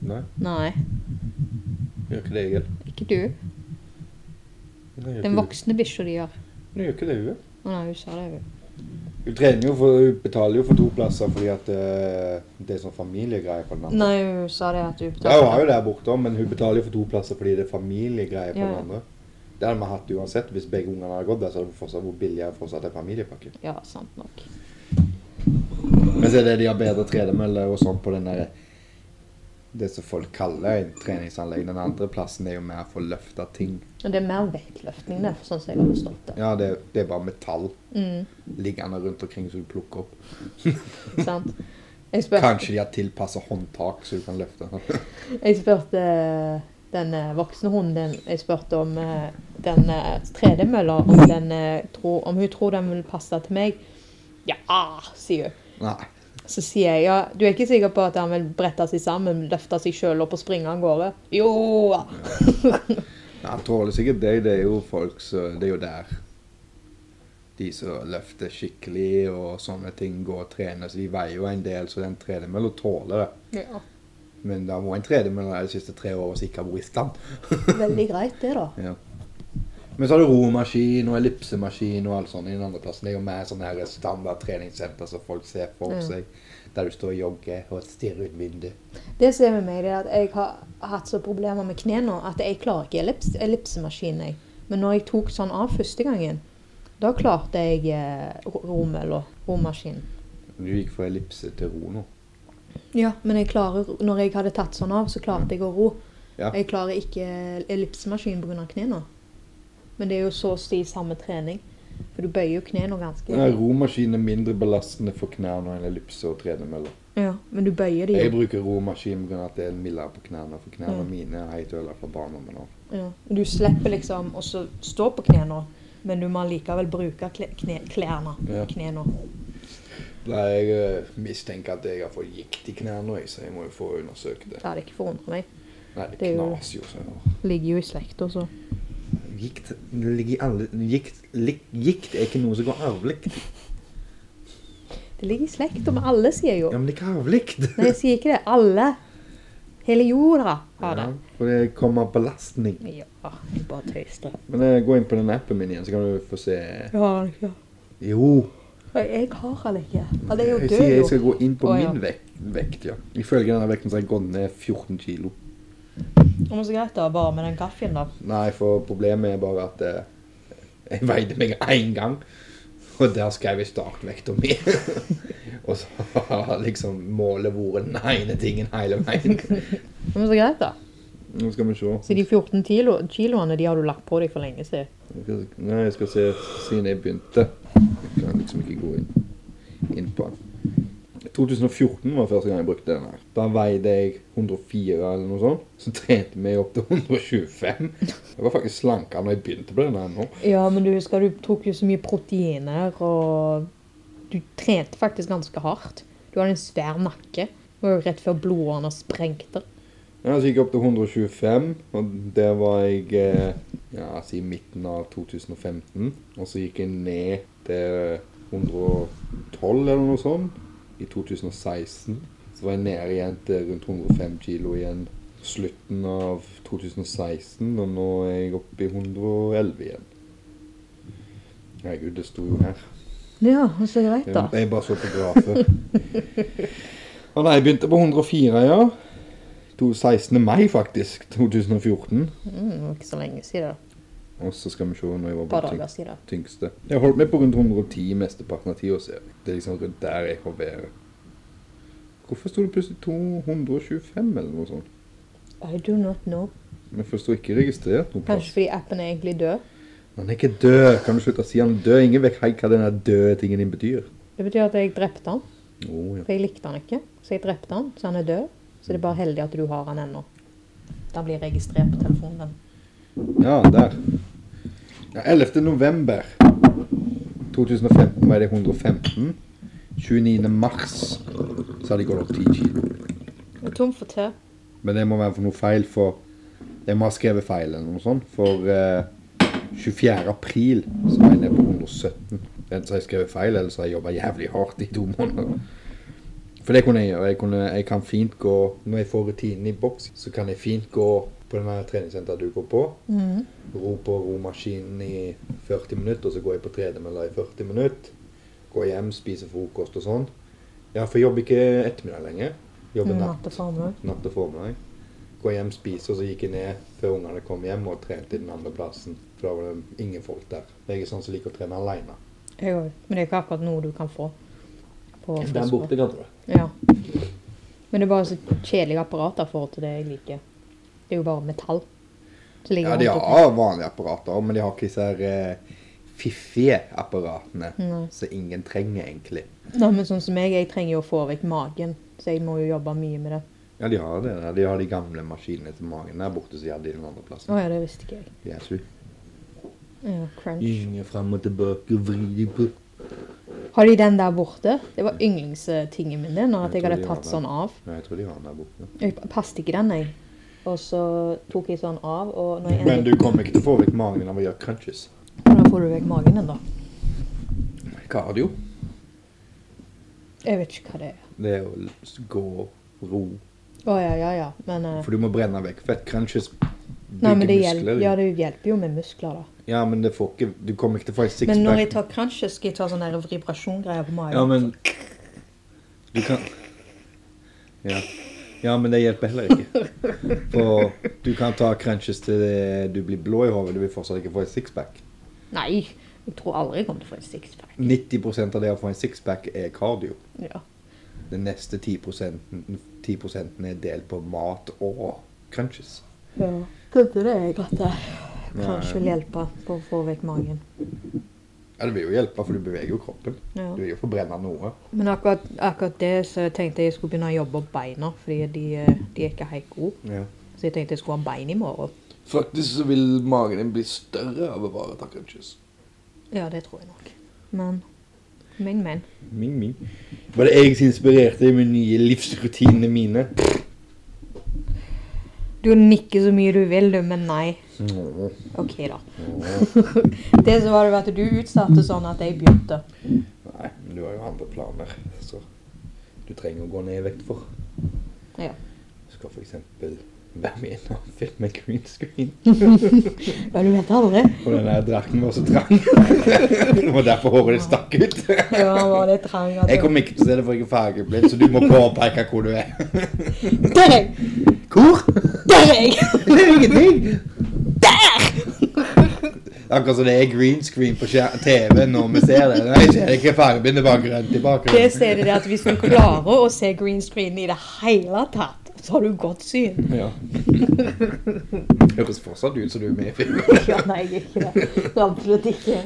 Speaker 2: Nei,
Speaker 1: Nei.
Speaker 2: gjør ikke det, Egil.
Speaker 1: Ikke du.
Speaker 2: Nei, gjør
Speaker 1: Den
Speaker 2: ikke
Speaker 1: voksne bikkja di gjør.
Speaker 2: du. Nei, gjør ikke det, hun.
Speaker 1: Å nei, hun sa det, hun.
Speaker 2: Hun trener jo for, hun betaler jo for to plasser fordi at eh, det er sånn familiegreier på den andre.
Speaker 1: Nei, hun sa det at hun
Speaker 2: Ja, hun er jo der borte, også, men hun betaler jo for to plasser fordi det er familiegreier på
Speaker 1: Ja,
Speaker 2: den
Speaker 1: ja.
Speaker 2: andre. Det hadde vi hatt uansett. Hvis begge ungene hadde gått der, så hadde det fortsatt vært billigere fortsatt en familiepakke.
Speaker 1: Ja, sant nok.
Speaker 2: Men så er det de har bedre tredemølle og sånn på den der Det som folk kaller en treningsanlegg. Den andre plassen er jo mer for å løfte ting.
Speaker 1: Men det er mer vektløftning, det, sånn som jeg har forstått det.
Speaker 2: Ja, det, det er bare metall
Speaker 1: Mm,
Speaker 2: liggende rundt omkring som du plukker opp.
Speaker 1: sant. Jeg spurte,
Speaker 2: Kanskje de har tilpassa håndtak så du kan løfte. sånn.
Speaker 1: jeg spurte den eh, voksne hunden din Jeg spurte om eh, den eh, tredemølla, om, den, eh, tror- om hun tror den vil passe til meg. Ja, sier hun.
Speaker 2: Nei.
Speaker 1: Så sier jeg ja, du er ikke sikker på at han vil brette seg sammen, løfte seg sjøl opp og springe av gårde? Jo da.
Speaker 2: Han tåler sikkert det. Det er jo folk som Det er jo der. De som løfter skikkelig og sånne ting, går og trener, så de veier jo en del, så den tredemølla tåler det.
Speaker 1: Ja.
Speaker 2: Men da må en tredemølle være de siste tre årene som ikke har vært i stand.
Speaker 1: Veldig greit, det, da.
Speaker 2: Men så har du romaskin og ellipsemaskin og alt sånt i den andre plassen. Det er jo mer sånn her standard treningssenter som folk ser for
Speaker 1: Ja.
Speaker 2: seg. Der du står og jogger og stirrer ut vinduet.
Speaker 1: Det som er med meg, det er at jeg har hatt så problemer med kne nå at jeg klarer ikke ellips ellipsemaskinen. Jeg. Men når jeg tok sånn av første gangen, da klarte jeg eh, ro- romølla, romaskinen.
Speaker 2: Du gikk fra ellipse til ro nå.
Speaker 1: Ja, men jeg klarer, når jeg hadde tatt sånn av, så klarte jeg å ro.
Speaker 2: Ja.
Speaker 1: Jeg klarer ikke ellipsemaskinen pga. knærne. Men det er jo så å si samme trening. For du bøyer jo knærne
Speaker 2: Nei,
Speaker 1: ganske.
Speaker 2: Romaskin er mindre belastende for knærne enn ellipse og tredemølle.
Speaker 1: Ja, men du bøyer de
Speaker 2: Jeg
Speaker 1: jo.
Speaker 2: bruker romaskin pga. at det er mildere på knærne. For knærne
Speaker 1: Mm.
Speaker 2: mine er helt ødelagt fra barndommen av.
Speaker 1: Ja. Du slipper liksom å så stå på knærne, men du må likevel bruke kle- kne klærne.
Speaker 2: Ja.
Speaker 1: Knærne.
Speaker 2: Nei, Jeg eh, mistenker at jeg har fått gikt i knærne, jeg, så jeg må jo få undersøkt det.
Speaker 1: Det hadde ikke forundret meg.
Speaker 2: Nei, det
Speaker 1: Det er jo-
Speaker 2: knaser jo sånn.
Speaker 1: Ligger jo i slekt også.
Speaker 2: Gikt, det ligger i alle, gikt, lik, gikt er ikke noe som går arvelig.
Speaker 1: Det ligger i slekt med alle, sier jeg jo.
Speaker 2: Ja, men det er ikke arvelig.
Speaker 1: Nei, jeg sier ikke det. Alle. Hele jorda har det.
Speaker 2: Ja, for det kommer belastning.
Speaker 1: Ja, jeg bare tøyste.
Speaker 2: Men eh, gå inn på den appen min igjen, så kan du få se.
Speaker 1: Jeg har det ikke.
Speaker 2: Jo.
Speaker 1: Jeg, jeg har det ikke. Ja, det er jo
Speaker 2: jeg sier jeg
Speaker 1: død,
Speaker 2: skal
Speaker 1: jo.
Speaker 2: gå inn på
Speaker 1: Å, ja.
Speaker 2: min vekt, vekt, ja. Ifølge denne vekten så har jeg gått ned 14 kilo.
Speaker 1: Om så greit da, bare med den kaffen da.
Speaker 2: Nei, for problemet er bare at eh, jeg veide meg én gang. Og der skrev jeg startvekta mi. og så har liksom målet vært den ene tingen hele veien.
Speaker 1: Om så greit da.
Speaker 2: Nå skal vi se.
Speaker 1: Så de 14 kilo, kiloene, de har du lagt på deg for lenge siden.
Speaker 2: Jeg skal, nei, jeg skal se siden jeg begynte. Jeg kan liksom ikke gå inn, inn på den. 2014 var første gang jeg brukte den her. Da veide jeg 104 eller noe sånt. Så trente vi opp til 125. Jeg var faktisk slankere når jeg begynte på den her nå.
Speaker 1: Ja, men du husker, du tok jo så mye proteiner, og du trente faktisk ganske hardt. Du hadde en svær nakke. Det var jo rett før blodårene sprengte.
Speaker 2: Ja, så gikk jeg opp til 125, og der var jeg eh, ja, si midten av 2015. Og så gikk jeg ned til 112 eller noe sånt i 2016. Så var jeg nede igjen til rundt 105 kilo igjen slutten av 2016, og nå er jeg oppe i 111 igjen. Herregud, det sto jo her.
Speaker 1: Ja, om så greit da.
Speaker 2: Jeg, jeg bare så på grafen. Å nei, jeg begynte på 104, ja. To- 16. mai, faktisk. 2014.
Speaker 1: Mm, ikke så lenge siden. da.
Speaker 2: Og så skal vi se når jeg var
Speaker 1: Et
Speaker 2: på
Speaker 1: par dager
Speaker 2: tyng,
Speaker 1: siden.
Speaker 2: tyngste. Jeg holdt meg på rundt 110 mesteparten av tida, ser jeg. Det er liksom rundt der jeg hoverer. Hvorfor sto det plutselig 225 eller noe sånt?
Speaker 1: I do not know.
Speaker 2: Men først sto ikke registrert noe plass.
Speaker 1: Kanskje fordi appen er egentlig død.
Speaker 2: Han er ikke død. Kan du slutte å si han er død? Ingen vet helt hva denne døde tingen din betyr.
Speaker 1: Det betyr at jeg drepte han,
Speaker 2: Å ja.
Speaker 1: for jeg likte han ikke. Så jeg drepte han, så han er død. Så det er bare heldig at du har han ennå. Da blir registrert på telefonen din.
Speaker 2: Ja, der. Ja, 11. november 2015 var det 115. 29. mars så hadde jeg gått opp 10 kilo.
Speaker 1: Jeg er tom for te.
Speaker 2: Men det må være for noe feil, for Jeg må ha skrevet feil eller noe sånt. For eh, 24. april så var jeg nede på 117. Enten så har jeg skrevet feil, eller så har jeg jobba jævlig hardt i to måneder. For det kunne jeg gjøre. Jeg, kunne, jeg kan fint gå Når jeg får rutinen i boks, så kan jeg fint gå på den her treningssenteret du går på.
Speaker 1: Mhm.
Speaker 2: Ro på romaskinen i 40 minutter, og så går jeg på tredemølla i 40 minutter. Går hjem, spiser frokost og sånn. Ja, for jeg jobber ikke ettermiddag lenger. Jobber Mm, natt
Speaker 1: Natt og formiddag.
Speaker 2: natt og formiddag. Gå hjem, spise, og så gikk jeg ned før ungene kom hjem og trente i den andre plassen. For da var det ingen folk der. Jeg er sånn som liker å trene alene.
Speaker 1: Jeg òg. Men det er ikke akkurat noe du kan få. På
Speaker 2: Den
Speaker 1: friskår.
Speaker 2: borte, kan du.
Speaker 1: Ja. Men det er bare så kjedelige apparater i forhold til det jeg liker. Det er jo bare metall. som ligger
Speaker 2: Ja, de
Speaker 1: rundt
Speaker 2: har vanlige apparater også, men de har ikke disse her eh, fiffige apparatene
Speaker 1: Nei.
Speaker 2: som ingen trenger, egentlig.
Speaker 1: omkring. Nei, men sånn som jeg, jeg trenger jo å få vekk magen, så jeg må jo jobbe mye med det.
Speaker 2: Ja, de har det. der. De har de gamle maskinene til magen der borte som de hadde i den andre
Speaker 1: Å
Speaker 2: plassen.
Speaker 1: ja, det visste ikke jeg.
Speaker 2: Jesus.
Speaker 1: Ja, crunch.
Speaker 2: Gynge frem og tilbake, vri de på.
Speaker 1: Har de den der borte? Det var yndlingstingen min, det, når at jeg
Speaker 2: Jeg tror
Speaker 1: hadde
Speaker 2: de har
Speaker 1: tatt
Speaker 2: den.
Speaker 1: sånn av.
Speaker 2: Nei, jeg tror de har den der borte.
Speaker 1: Jeg passet ikke den, jeg. Og så tok jeg sånn av, og når jeg
Speaker 2: Men
Speaker 1: endelig
Speaker 2: du kommer ikke til å få vekk magen av å gjøre crunches.
Speaker 1: Hvordan får du vekk magen ennå?
Speaker 2: Cardio.
Speaker 1: Jeg vet ikke hva det er.
Speaker 2: Det er å s- gå, ro
Speaker 1: Å ja, ja, ja. Men eh,
Speaker 2: For du må brenne vekk fett. Crunches
Speaker 1: Nei, men det
Speaker 2: bygger
Speaker 1: hjelper,
Speaker 2: muskler.
Speaker 1: ja, det hjelper jo med muskler, da.
Speaker 2: Ja, men det får ikke Du kommer ikke til å få en
Speaker 1: Men når jeg
Speaker 2: sixpack.
Speaker 1: tar crunches, skal jeg ta sånne her vibrasjongreier på magen.
Speaker 2: Ja, men Du kan ja. ja, men det hjelper heller ikke. For du kan ta crunches til du blir blå i hodet. Du vil fortsatt ikke få en sixpack.
Speaker 1: Nei, jeg tror aldri jeg kommer til å få en sixpack.
Speaker 2: 90 av det å få en sixpack er cardio.
Speaker 1: Ja.
Speaker 2: Den neste 10 10 er delt på mat og crunches.
Speaker 1: ja. Trodde det jeg at det
Speaker 2: Nei.
Speaker 1: kanskje vil hjelpe på å få vekk magen.
Speaker 2: Ja, Det vil jo hjelpe, for du beveger jo kroppen.
Speaker 1: Ja.
Speaker 2: Du vil jo forbrenne noe.
Speaker 1: Men akkurat, akkurat det så tenkte jeg jeg skulle begynne å jobbe opp beina, fordi de, eh, de er ikke helt gode.
Speaker 2: Ja.
Speaker 1: Så jeg tenkte jeg skulle ha bein i morgen.
Speaker 4: Faktisk så vil magen din bli større av å bare ta crunches.
Speaker 1: Ja, det tror jeg nok. Men men, men.
Speaker 2: Ming, ming. Var det jeg som inspirerte med nye livsrutinene mine?
Speaker 1: Du nikker så mye du vil, du, men nei. OK, da. det som var det at du utsatte sånn at jeg begynte.
Speaker 2: Nei, men du har jo andre planer, så du trenger å gå ned i vekt for.
Speaker 1: Ja.
Speaker 2: Du skal for eksempel være med i en annen film med green screen.
Speaker 1: Ja, du vet aldri.
Speaker 2: Og den der drakten var så trang. Det var derfor håret ditt stakk ut.
Speaker 1: Ja, var det trang at
Speaker 2: Jeg kommer ikke til å se det for jeg er fargeblind, så du må påpeke hvor du er.
Speaker 1: Der er jeg!
Speaker 2: Hvor?
Speaker 1: Der er jeg!
Speaker 2: Det er jo ingenting! Der! Akkurat som det er green screen på skjer- TV når vi ser det. Nei, det er ikke fargeblind, det er bare grønt i bakgrunnen.
Speaker 1: Det stedet det at hvis du klarer å se green screen i det hele tatt, så har du godt syn.
Speaker 2: Ja. Høres fortsatt ut som du er med i film.
Speaker 1: Ja, nei, jeg er ikke det. Absolutt ikke.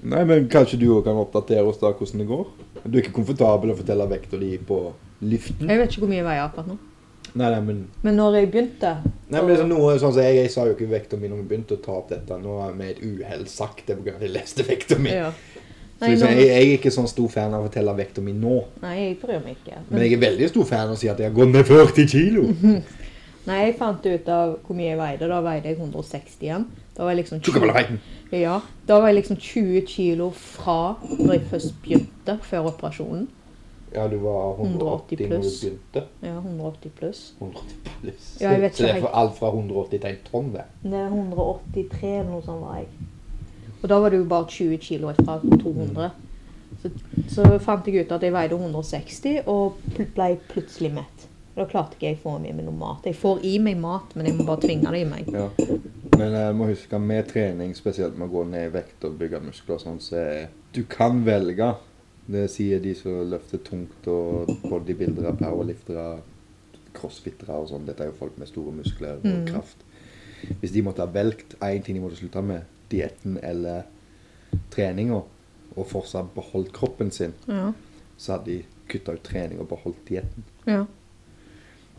Speaker 2: Nei, men kanskje du òg kan oppdatere oss da hvordan det går? Du er ikke komfortabel å fortelle vekta di på luften?
Speaker 1: Jeg vet ikke hvor mye jeg veier akkurat nå.
Speaker 2: Nei, nei, men,
Speaker 1: Men når jeg begynte
Speaker 2: nei, men det er sånn noe sånn som jeg, jeg sa jo ikke vekta mi når vi begynte å ta opp dette. Nå har jeg med et uhell sagt det pga. at jeg leste vekta mi.
Speaker 1: ja.
Speaker 2: Så
Speaker 1: nei,
Speaker 2: liksom,
Speaker 1: når,
Speaker 2: jeg, jeg er ikke sånn stor fan av å fortelle vekta mi nå.
Speaker 1: nei, jeg bryr meg ikke.
Speaker 2: Men jeg er veldig stor fan av å si at jeg har gått ned 40 kilo.
Speaker 1: Mhm. Nei, jeg fant ut av hvor mye jeg veide. Da veide jeg 160 igjen. Da var jeg liksom
Speaker 2: Tjukkaballafeiten.
Speaker 1: ja, da var jeg liksom 20 kilo fra når jeg først begynte, før operasjonen.
Speaker 2: Ja, du var 180 når du
Speaker 1: pluss.
Speaker 2: begynte.
Speaker 1: Ja, 180 pluss.
Speaker 2: 180 pluss.
Speaker 1: Ja, jeg vet
Speaker 2: Så det
Speaker 1: ikke
Speaker 2: er for alt fra 180 til en tonn, det.
Speaker 1: Det er 183 eller noe sånt var jeg. Og da var det jo bare 20 kilo fra 200. Så, så fant jeg ut at jeg veide 160 og pl- ble plutselig mett. Da klarte ikke jeg å få i meg noe mat. Jeg får i meg mat, men jeg må bare tvinge det i meg.
Speaker 2: Ja. Men jeg må huske med trening, spesielt med å gå ned i vekt og bygge muskler og sånn, så er- du kan velge. Det sier de som løfter tungt og bodybuildere, powerliftere, crossfittere og sånn. Dette er jo folk med store muskler og
Speaker 1: Mm.
Speaker 2: kraft. Hvis de måtte ha valgt én ting de måtte slutte med, dietten eller treninga, og fortsatt beholdt kroppen sin,
Speaker 1: Ja,
Speaker 2: så hadde de kutta ut trening og beholdt dietten.
Speaker 1: ja.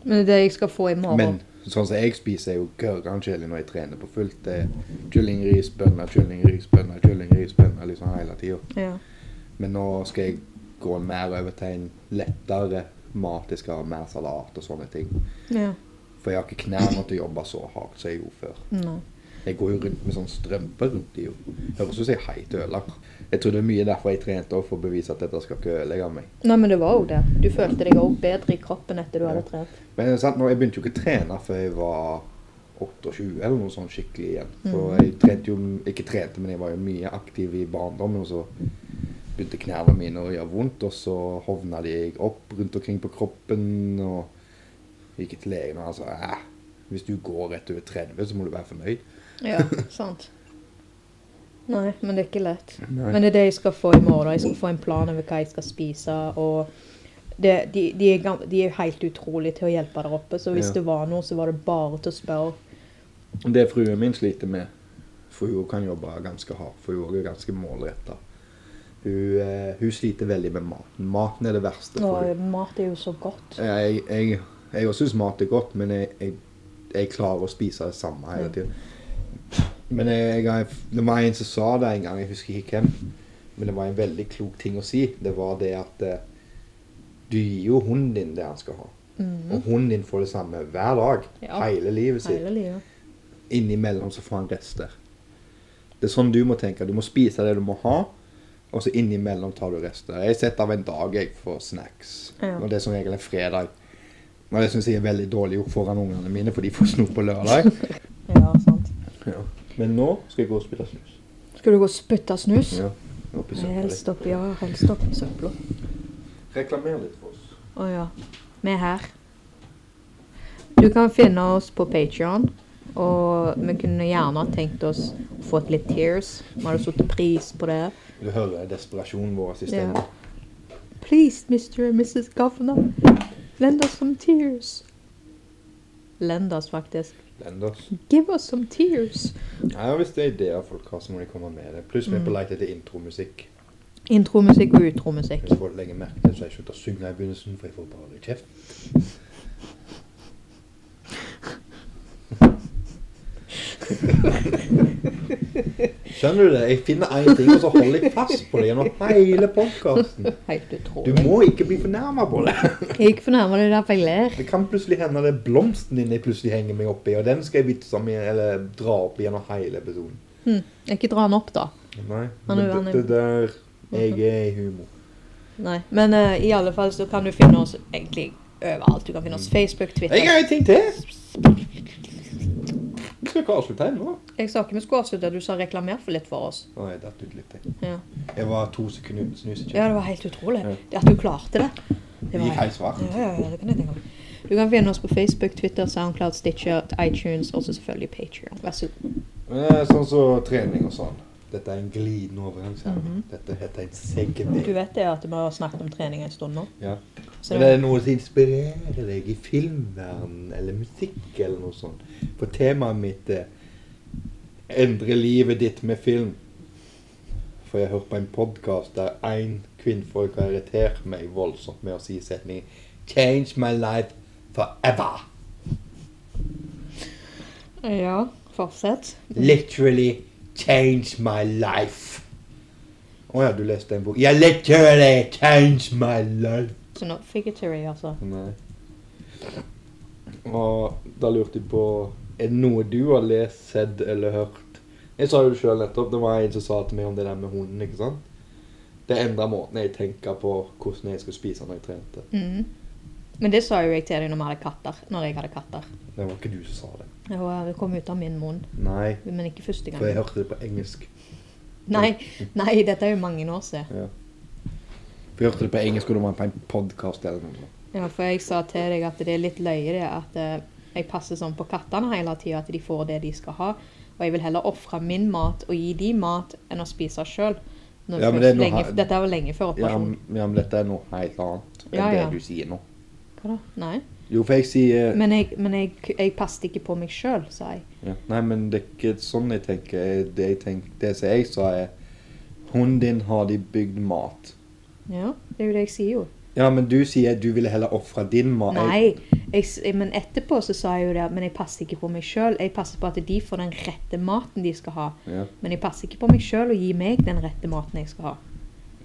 Speaker 1: Men det er det jeg skal få i morgen.
Speaker 2: Men sånn som jeg spiser, er jo gørrende kjedelig når jeg trener på fullt. Det er kyllingris, bønner, kyllingris, bønner, kyllingris, bønner liksom hele tida.
Speaker 1: Ja.
Speaker 2: Men nå skal jeg gå mer over til en lettere mat. Jeg skal ha mer salat og sånne ting.
Speaker 1: Ja.
Speaker 2: For jeg har ikke knærne til å jobbe så hardt som jeg gjorde før.
Speaker 1: Nei.
Speaker 2: Jeg går jo rundt med sånn strømpe rundt i jo. Høres ut som jeg heit øler. Jeg tror det er mye derfor jeg trente også, for å bevise at dette skal ikke ødelegge meg.
Speaker 1: Nei, men det var jo det. Du følte deg òg bedre i kroppen etter du hadde trent.
Speaker 2: Men det er sant, nå, jeg begynte jo ikke å trene før jeg var 28 eller noe sånt skikkelig igjen. For jeg trente jo, ikke trente, men jeg var jo mye aktiv i barndommen, og så begynte knærne mine å gjøre vondt, og så hovna de opp rundt omkring på kroppen, og gikk til legen, og han sa, «Æh, hvis du går rett over 30, så må du være fornøyd.
Speaker 1: Ja, sant. Nei, men det er ikke lett.
Speaker 2: Nei.
Speaker 1: Men det er det jeg skal få i morgen. da. Jeg skal få en plan over hva jeg skal spise. og det, de, de, er, gam- de er helt utrolige til å hjelpe der oppe, så hvis
Speaker 2: Ja.
Speaker 1: det var noe, så var det bare til å spørre.
Speaker 2: Det fruen min sliter med, for hun kan jobbe ganske hardt, for hun er ganske målretta. Hun, eh, hun sliter veldig med maten. Maten er det verste.
Speaker 1: Nå,
Speaker 2: for hun.
Speaker 1: mat er jo så godt.
Speaker 2: Jeg, jeg, jeg også syns mat er godt, men jeg, jeg, jeg klarer å spise det samme hele tiden. Men jeg, jeg, det var en som sa det en gang, jeg husker ikke hvem, men det var en veldig klok ting å si. Det var det at eh, du gir jo hunden din det han skal ha.
Speaker 1: Mhm.
Speaker 2: Og hunden din får det samme hver dag,
Speaker 1: Ja.
Speaker 2: hele livet sitt.
Speaker 1: Hele livet.
Speaker 2: Innimellom så får han rester. Det er sånn du må tenke. Du må spise det du må ha, og så innimellom tar du rester. Jeg setter av en dag jeg for snacks,
Speaker 1: Ja.
Speaker 2: og det er som regel en fredag. Og det syns jeg er veldig dårlig gjort foran ungene mine, for de får snop på lørdag.
Speaker 1: Ja, sant.
Speaker 2: Ja. Men nå skal jeg gå og spille snus.
Speaker 1: Skal du gå og spytte snus?
Speaker 2: Ja. Oppi
Speaker 1: Helst oppi, ja, helst oppi søpla.
Speaker 2: Reklamer litt for oss.
Speaker 1: Å ja. Vi er her. Du kan finne oss på Patreon, Og vi kunne gjerne ha tenkt oss å få et litt tears. Vi hadde satt pris på det.
Speaker 2: Du hører desperasjonen vår i
Speaker 1: Ja.
Speaker 2: stemmen.
Speaker 1: Please, Mr. and Mrs. Governor, lend us some tears. Lend oss, faktisk.
Speaker 2: Lend oss.
Speaker 1: Give us some tears.
Speaker 2: Ja, hvis det er ideer folk har, så må de komme med det. Pluss vi
Speaker 1: Mm.
Speaker 2: er på leit etter intromusikk.
Speaker 1: Intromusikk og utromusikk.
Speaker 2: Hvis folk legger merke til det, så jeg slutter å synge i begynnelsen, for jeg får bare kjeft. Skjønner du det? Jeg finner én ting, og så holder jeg fast på det gjennom hele podkasten.
Speaker 1: Helt
Speaker 2: Du
Speaker 1: utrolig.
Speaker 2: må ikke bli fornærma på det.
Speaker 1: Jeg er fornærma, det er derfor jeg ler.
Speaker 2: Det kan plutselig hende det er blomsten din jeg plutselig henger meg opp i, og den skal jeg vitse om, igjen- eller dra opp gjennom hele episoden.
Speaker 1: Ikke dra den opp, da.
Speaker 2: Nei,
Speaker 1: Han er
Speaker 2: men
Speaker 1: uenig.
Speaker 2: det, det der Jeg er i humor.
Speaker 1: Nei. Men eh, i alle fall så kan du finne oss egentlig overalt. Du kan finne oss Facebook,
Speaker 2: Jeg
Speaker 1: Twitter
Speaker 2: har en ting til! Vi skal ikke avslutte ennå.
Speaker 1: Jeg sa ikke vi skulle avslutte, du sa reklamer for litt for oss.
Speaker 2: Å, jeg datt ut litt. Jeg,
Speaker 1: Ja.
Speaker 2: jeg var to sekunder uten snus.
Speaker 1: Ja, det var helt utrolig.
Speaker 2: Ja.
Speaker 1: Det At du klarte det.
Speaker 2: Det gikk helt svart.
Speaker 1: Ja, ja, ja, det kan jeg tenke meg. Du kan finne oss på Facebook, Twitter, Soundcloud, Stitcher, iTunes og så selvfølgelig Patreon. Vær så god.
Speaker 2: Eh, Sånn som trening og sånn. Dette er en glidende overgang. sier jeg. Dette heter en
Speaker 1: Du
Speaker 2: segway.
Speaker 1: vet det at vi har snakket om trening en stund nå?
Speaker 2: Ja.
Speaker 1: Så
Speaker 2: Men det er noe som inspirerer deg i filmverden eller musikk eller noe sånt. For temaet mitt er Endre livet ditt med film. For jeg har hørt på en podkast der én kvinnfolk har irritert meg voldsomt med å si setningen 'Change my life forever'.
Speaker 1: Ja, fortsett.
Speaker 2: Literally changed my life. Å ja, du leste en bok. Yeah, literally changed my life.
Speaker 1: Så nå figuratory, altså.
Speaker 2: Nei. Og da lurte jeg på Er det noe du har lest, sett eller hørt? Jeg sa jo det sjøl nettopp. Det var en som sa til meg om det der med hunden. ikke sant? Det endra måten jeg tenker på hvordan jeg skulle spise når jeg trente.
Speaker 1: Mhm. Men det sa jo jeg til deg når vi hadde katter. Når jeg hadde katter.
Speaker 2: Det var ikke du som sa det.
Speaker 1: Og det kom ut av min munn.
Speaker 2: Nei,
Speaker 1: Men ikke første gang.
Speaker 2: for jeg hørte det på engelsk.
Speaker 1: Nei, nei, dette er jo mange år siden.
Speaker 2: For jeg hørte det på engelsk, og det var på en podkast eller noe. sånt.
Speaker 1: Ja, for jeg sa til deg at det er litt løye det at eh, jeg passer sånn på kattene hele tida, at de får det de skal ha. Og jeg vil heller ofre min mat og gi de mat enn å spise sjøl.
Speaker 2: Ja, men det er noe
Speaker 1: lenge,
Speaker 2: her-
Speaker 1: dette var lenge før
Speaker 2: Ja,
Speaker 1: operasjonen.
Speaker 2: men- ja, men dette er noe helt annet enn
Speaker 1: Ja, ja.
Speaker 2: det du sier nå.
Speaker 1: Hva da? Nei.
Speaker 2: Jo, for jeg sier
Speaker 1: Men jeg, men jeg, jeg passet ikke på meg sjøl, sa jeg.
Speaker 2: Ja. Nei, men det er ikke sånn jeg tenker. Jeg- Det, jeg tenker, det som jeg sa, er Hunden din har de bygd mat.
Speaker 1: Ja, det er jo det jeg sier jo.
Speaker 2: Ja, men du sier du ville heller ofre din mat. Jeg-
Speaker 1: Nei, jeg, s- men etterpå så sa jeg jo det at men jeg passer ikke på meg sjøl. Jeg passer på at de får den rette maten de skal ha.
Speaker 2: Ja.
Speaker 1: Men jeg passer ikke på meg sjøl og gir meg den rette maten jeg skal ha.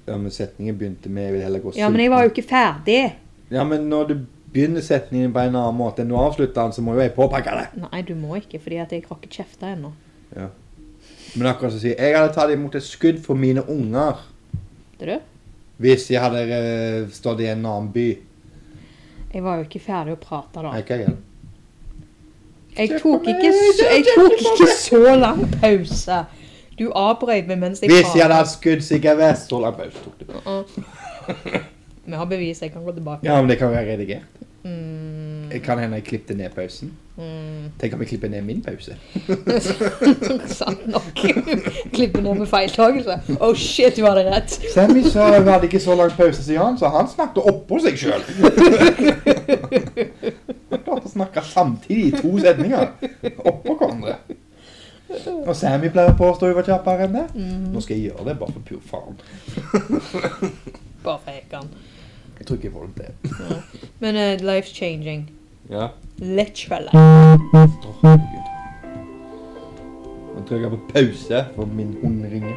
Speaker 2: ja, men setningen begynte med 'jeg vil heller gå
Speaker 1: Ja, men jeg var jo ikke ferdig.
Speaker 2: Ja, men når du begynner setningen på en annen måte enn du avslutter den, så må jo jeg påpeke det.
Speaker 1: Nei, du må ikke, fordi at jeg har ikke kjefta ennå.
Speaker 2: Men akkurat som å si Jeg hadde tatt imot et skudd for mine unger
Speaker 1: Vet du?
Speaker 2: hvis jeg hadde eh, stått i en annen by.
Speaker 1: Jeg var jo ikke ferdig å prate da.
Speaker 2: Nei, hva gjør det?
Speaker 1: Jeg tok ikke så, jeg tok ikke så lang pause. Du avbrøt meg mens jeg
Speaker 2: Hvis jeg hadde
Speaker 1: pratet.
Speaker 2: hatt skuddsikker vest, så lang pause tok det.
Speaker 1: Vi har bevis, jeg kan gå tilbake.
Speaker 2: Ja, men det kan være redigert.
Speaker 1: Mm,
Speaker 2: Det kan hende jeg klippte ned pausen.
Speaker 1: mm,
Speaker 2: Tenk om jeg klipper ned min pause.
Speaker 1: sant nok. Klippe ned med feiltagelse. Oh shit, du hadde rett.
Speaker 2: Sammy sa hun hadde ikke så lang pause som han, så han snakket oppå seg sjøl. Klarte å snakke samtidig i to setninger. Oppå hverandre. Og Sammy pleier å påstå hun var kjappere enn det. Nå skal jeg gjøre det bare for pur faen.
Speaker 1: Bare for jeg kan.
Speaker 2: Jeg tror ikke jeg får det til.
Speaker 1: Men eh, life changing.
Speaker 2: Ja.
Speaker 1: Literally.
Speaker 2: Nå trykker jeg på pause, for min hund ringer.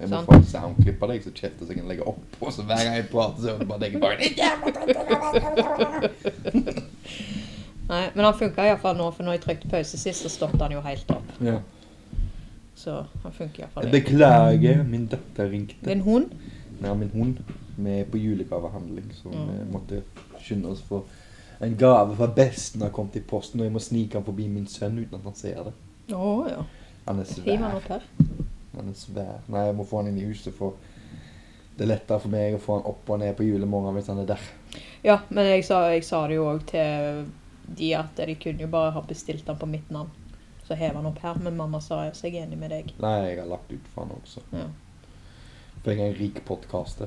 Speaker 2: Jeg må
Speaker 1: Sant.
Speaker 2: få en soundklipp av deg, så kjefter så jeg kan legge oppå. Så hver gang jeg prater, så er det bare deg i bakgrunnen.
Speaker 1: Nei, men han funka iallfall nå, for når jeg trykte pause sist, så stoppet han jo helt opp.
Speaker 2: Ja.
Speaker 1: Så han funker
Speaker 2: Jeg
Speaker 1: iallfall.
Speaker 2: Beklager, min datter ringte.
Speaker 1: Din hund?
Speaker 2: Nei, min hund. Vi er på julegavehandling, så
Speaker 1: Mm.
Speaker 2: vi måtte skynde oss for en gave fra besten har kommet i posten, og jeg må snike den forbi min sønn uten at han ser det.
Speaker 1: Å ja.
Speaker 2: Han er
Speaker 1: Skriver han
Speaker 2: svær.
Speaker 1: opp her?
Speaker 2: Han er svær. Nei, jeg må få han inn i huset, for det er lettere for meg å få han opp og ned på julemorgen hvis han er der.
Speaker 1: Ja, men jeg sa, jeg sa det jo òg til de at de kunne jo bare ha bestilt den på mitt navn. Så hev han opp her, men mamma sa jo så jeg er enig med deg.
Speaker 2: Nei, jeg har lagt ut for han også.
Speaker 1: Ja.
Speaker 2: For jeg er en rik podcaster.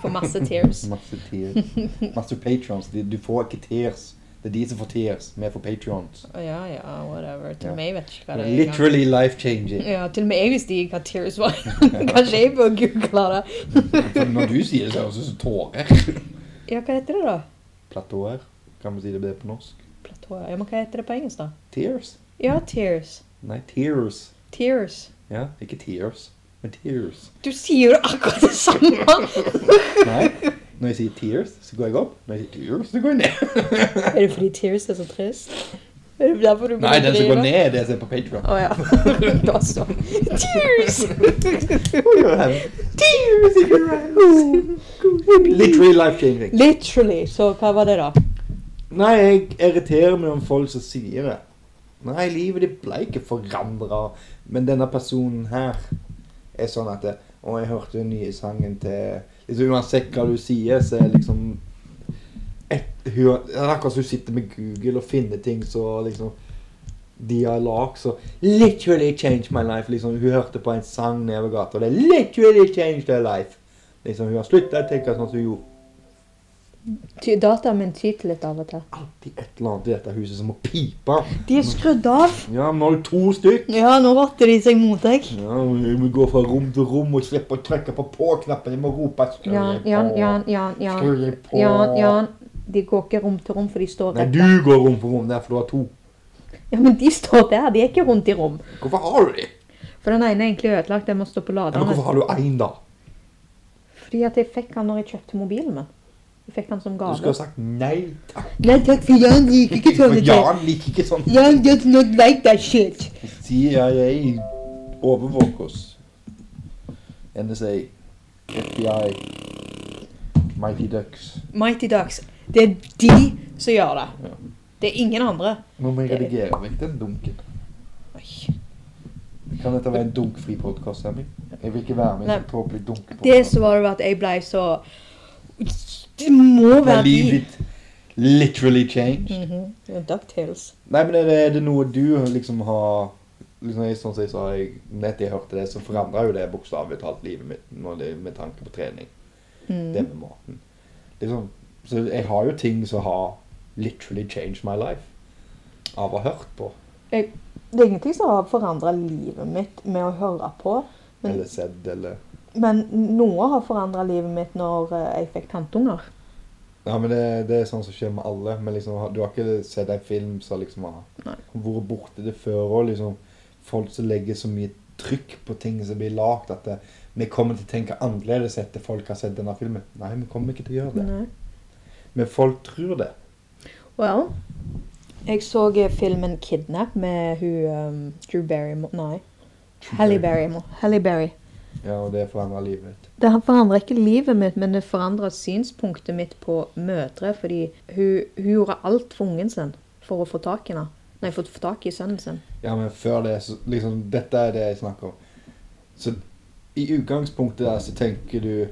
Speaker 1: For masse tears.
Speaker 2: Masse tears. Masse patrons. De- Du får ikke tears. Det er de som får tears. Vi får patrons.
Speaker 1: Å, Ja, ja, whatever. Til
Speaker 2: Ja.
Speaker 1: meg vet ikke hva det er. engang.
Speaker 2: Literally life changing.
Speaker 1: Ja, til og med jeg visste ikke hva tears var. Kanskje jeg bør google det.
Speaker 2: For når du sier det, så høres det ut som tårer.
Speaker 1: Ja, hva heter det da?
Speaker 2: Platåer. Kan vi si det bedre på norsk?
Speaker 1: Platåer. Ja, men hva heter det på engelsk, da?
Speaker 2: Tears?
Speaker 1: Ja, tears.
Speaker 2: Nei, tears.
Speaker 1: Tears.
Speaker 2: Ja, ikke tears, men tears.
Speaker 1: Du sier jo akkurat det samme!
Speaker 2: Nei, når jeg sier tears, så går jeg opp. Når jeg sier tears, så går jeg ned.
Speaker 1: Er det fordi tears er så trist? Er det derfor du
Speaker 2: Nei, den som går
Speaker 1: driver?
Speaker 2: ned, er det som er på Patreon.
Speaker 1: Å ja. Da så. Tears! Tears!
Speaker 2: Literally life changing.
Speaker 1: Literally. Så hva var det, da?
Speaker 2: Nei, jeg irriterer meg om folk som sier det. Nei, livet ditt ble ikke forandra, men denne personen her er sånn at det, Og jeg hørte den nye sangen til liksom Uansett hva du sier, så er liksom et, hun, Det er akkurat som hun sitter med Google og finner ting så liksom De har lag, så Literally changed my life. liksom Hun hørte på en sang nedover gata, og det er literally changed her life. Liksom Hun har slutta å tenke sånn som hun gjorde.
Speaker 1: Ty- Dataen min tyter litt av og til.
Speaker 2: Alltid et eller annet i dette huset som må pipe.
Speaker 1: De er skrudd av.
Speaker 2: Ja, men nå har du to stykk.
Speaker 1: Ja, nå rotter de seg mot deg.
Speaker 2: Ja, jeg må gå fra rom til rom og slippe å trykke på på-knappen. Jeg må rope skru
Speaker 1: Jan,
Speaker 2: deg
Speaker 1: Jan,
Speaker 2: på.
Speaker 1: Jan, Jan. Jan,
Speaker 2: Skru deg på.
Speaker 1: Jan, Jan. De går ikke rom til rom, for de står
Speaker 2: Nei,
Speaker 1: rett
Speaker 2: du
Speaker 1: der.
Speaker 2: går rom for rom der, for du har to.
Speaker 1: Ja, men de står der. De er ikke rundt i rom.
Speaker 2: Hvorfor har du de?
Speaker 1: For den ene er egentlig ødelagt. Den må stå på
Speaker 2: Ja, men
Speaker 1: laderen.
Speaker 2: hvorfor har du én, da?
Speaker 1: Fordi at jeg fikk han når jeg kjøpte mobilen min. Jeg fikk han som
Speaker 2: Du
Speaker 1: gave.
Speaker 2: skulle ha sagt nei takk.
Speaker 1: Nei takk, for Jan liker ikke
Speaker 2: For
Speaker 1: sånne ting.
Speaker 2: Jan liker ikke sånn.
Speaker 1: Jan does not like that shit.
Speaker 2: Sier jeg overvåker oss. NSA, FBI, Mighty Ducks.
Speaker 1: Mighty Ducks. Det er de som gjør det.
Speaker 2: Ja.
Speaker 1: Det er ingen andre.
Speaker 2: Nå må jeg redigere vekk den dunken.
Speaker 1: Oi.
Speaker 2: Kan dette være en dunkfri podkast, Sammy? Jeg vil ikke være med i en
Speaker 1: Nei.
Speaker 2: sånn tåpelig dunkepodkast.
Speaker 1: Det som var det at jeg ble så Det må
Speaker 2: Har
Speaker 1: være de.
Speaker 2: livet literally changed?
Speaker 1: Mhm. Ja, DuckTales.
Speaker 2: Nei, men er det, er det noe du liksom har liksom, jeg, Sånn som jeg sa jeg, nett jeg hørte det, så forandra jo det bokstavelig talt livet mitt når det, med tanke på trening. Det
Speaker 1: Mm.
Speaker 2: med maten. Liksom, så jeg har jo ting som har literally changed my life. Av å ha hørt på.
Speaker 1: Jeg, det er ingenting som har forandra livet mitt med å høre på. Men-
Speaker 2: Eller sett, eller
Speaker 1: Men noe har forandra livet mitt når eh, jeg fikk tantunger.
Speaker 2: Ja, men det, det er sånn som skjer med alle. Men liksom, har- du har ikke sett en film som liksom har
Speaker 1: Nei.
Speaker 2: vært borti det før òg. Liksom, folk som legger så mye trykk på ting som blir lagd, at det, vi kommer til å tenke annerledes etter folk har sett denne filmen. Nei, vi kommer ikke til å gjøre det.
Speaker 1: Nei.
Speaker 2: Men folk tror det.
Speaker 1: Well, jeg så eh, filmen 'Kidnap' med hun um, Drew Barrymore Nei, Halle Barrymore. Halle Berry.
Speaker 2: Ja, og det forandrer livet ditt.
Speaker 1: Det her forandrer ikke livet mitt, men det forandrer synspunktet mitt på mødre. Fordi hun, hun gjorde alt for ungen sin for å få tak i henne. Nei, for å få tak i sønnen sin.
Speaker 2: Ja, men før det, så liksom Dette er det jeg snakker om. Så i utgangspunktet der så tenker du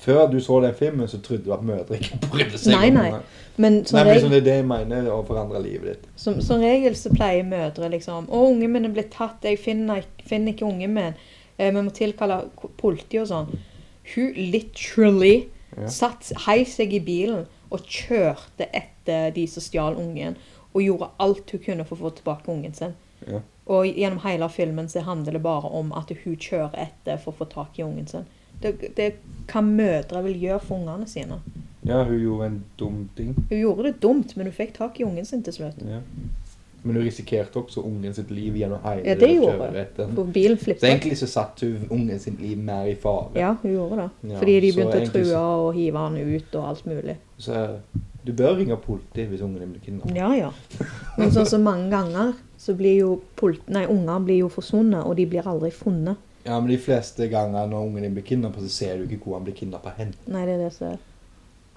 Speaker 2: Før du så den filmen, så trodde du at mødre ikke brydde seg
Speaker 1: Nei, nei.
Speaker 2: det.
Speaker 1: Men som,
Speaker 2: Nei, men
Speaker 1: regel,
Speaker 2: liksom, det er det jeg mener, å forandre livet ditt.
Speaker 1: som, som regel så pleier mødre liksom Å, ungen min er blitt tatt. Jeg finner, ikke- finner ikke ungen min. Eh, vi må tilkalle ko- politi og sånn. Hun literally
Speaker 2: Ja.
Speaker 1: satt heiv seg i bilen og kjørte etter de som stjal ungen. Og gjorde alt hun kunne for å få tilbake ungen sin.
Speaker 2: Ja.
Speaker 1: Og gjennom hele filmen så handler det bare om at hun kjører etter for å få tak i ungen sin. Det, det er hva mødre vil gjøre for ungene sine.
Speaker 2: Ja, hun gjorde en dum ting.
Speaker 1: Hun gjorde det dumt, men hun fikk tak i ungen sin til slutt.
Speaker 2: Ja. Men hun risikerte også ungen sitt liv gjennom hele
Speaker 1: Ja, det
Speaker 2: å
Speaker 1: gjorde
Speaker 2: kjøre
Speaker 1: hun.
Speaker 2: etter den.
Speaker 1: For bilen
Speaker 2: Mm. Så
Speaker 1: flippet.
Speaker 2: egentlig så satte hun ungen sitt liv mer i fare.
Speaker 1: Ja, hun gjorde det.
Speaker 2: Ja,
Speaker 1: Fordi de
Speaker 2: så
Speaker 1: begynte å
Speaker 2: egentlig
Speaker 1: true
Speaker 2: så-
Speaker 1: og hive han ut og alt mulig.
Speaker 2: Så du bør ringe politiet hvis ungen din blir kidnappet.
Speaker 1: Ja, ja. Men sånn som mange ganger, så blir jo polit... Nei, unger blir jo forsvunnet, og de blir aldri funnet.
Speaker 2: Ja, men de fleste ganger når ungen din blir kidnappet, så ser du ikke hvor han blir kidnappet hen.
Speaker 1: Nei, det er det som er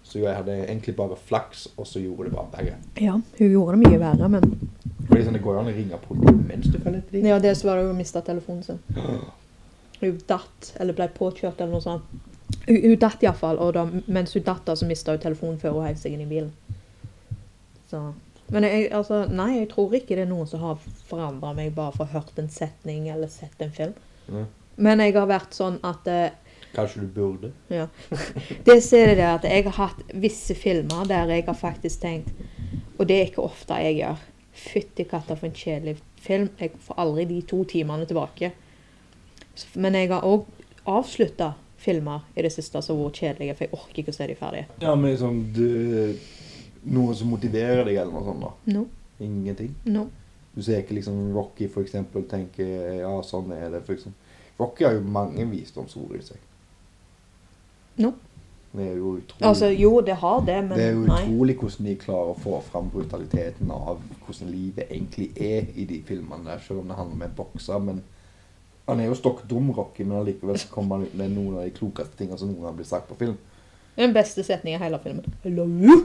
Speaker 2: Så jeg hadde egentlig bare flaks, og så gjorde det bare begge.
Speaker 1: Ja, hun gjorde det mye verre, men
Speaker 2: Fordi sånn, det går jo an å ringe politiet mens du følger etter dem.
Speaker 1: Ja, det så var det hun mista telefonen sin. Hun datt, eller ble påkjørt, eller noe sånt. Hun, hun datt iallfall, og da, mens hun datt, da, så mista hun telefonen før hun heiv seg inn i bilen. Så. Men jeg, altså, nei, jeg tror ikke det er noen som har forandra meg bare for å ha hørt en setning eller sett en film.
Speaker 2: Ja.
Speaker 1: Men jeg har vært sånn at eh,
Speaker 2: Kanskje du burde.
Speaker 1: ja. Det som er det der, at jeg har hatt visse filmer der jeg har faktisk tenkt Og det er ikke ofte jeg gjør. Fytti katta for en kjedelig film. Jeg får aldri de to timene tilbake. Så- Men jeg har òg avslutta filmer i det siste som har vært kjedelige, for jeg orker ikke å se de ferdige.
Speaker 2: Ja, men liksom, du... Noe som motiverer deg eller noe sånt da.
Speaker 1: No,
Speaker 2: Ingenting.
Speaker 1: no.
Speaker 2: Du ser ikke liksom Rocky for eksempel tenke, ja, sånn er det, for eksempel. Rocky har jo mange visdomsord i seg.
Speaker 1: No.
Speaker 2: Det er jo utrolig.
Speaker 1: Altså, jo, det har det, men
Speaker 2: det er jo
Speaker 1: nei.
Speaker 2: utrolig hvordan de klarer å få fram brutaliteten av hvordan livet egentlig er i de filmene der, selv om det handler om en bokser. Men han er jo stokk dum, Rocky, men allikevel så kommer han ut med noen av de klokeste tingene som noen har blitt sagt på film.
Speaker 1: Den beste setningen i hele filmen. I love you.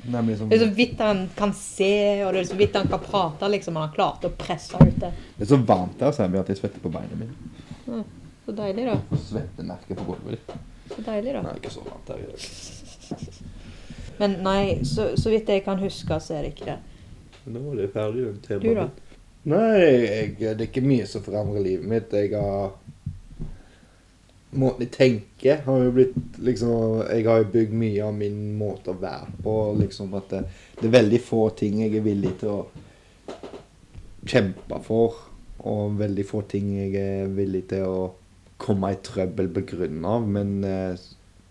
Speaker 2: Nei, men liksom,
Speaker 1: Det er så vidt han kan se, og det er så vidt han kan prate, liksom. Han har klart å presse ut det.
Speaker 2: det er så varmt der, så jeg blir at jeg svetter på beina mine.
Speaker 1: Så deilig, da.
Speaker 2: Svettemerker på gulvet ditt.
Speaker 1: Så deilig, da.
Speaker 2: Nei, ikke så varmt her i dag.
Speaker 1: Men nei, så, så vidt jeg kan huske, så er det ikke det.
Speaker 2: Nå er det ferdig, den
Speaker 1: Du, da?
Speaker 2: Nei, jeg, det er ikke mye som forandrer livet mitt. Jeg har Måten jeg tenker har jo blitt liksom Jeg har jo bygd mye av min måte å være på. liksom at det, det er veldig få ting jeg er villig til å kjempe for. Og veldig få ting jeg er villig til å komme i trøbbel begrunna av. Men eh,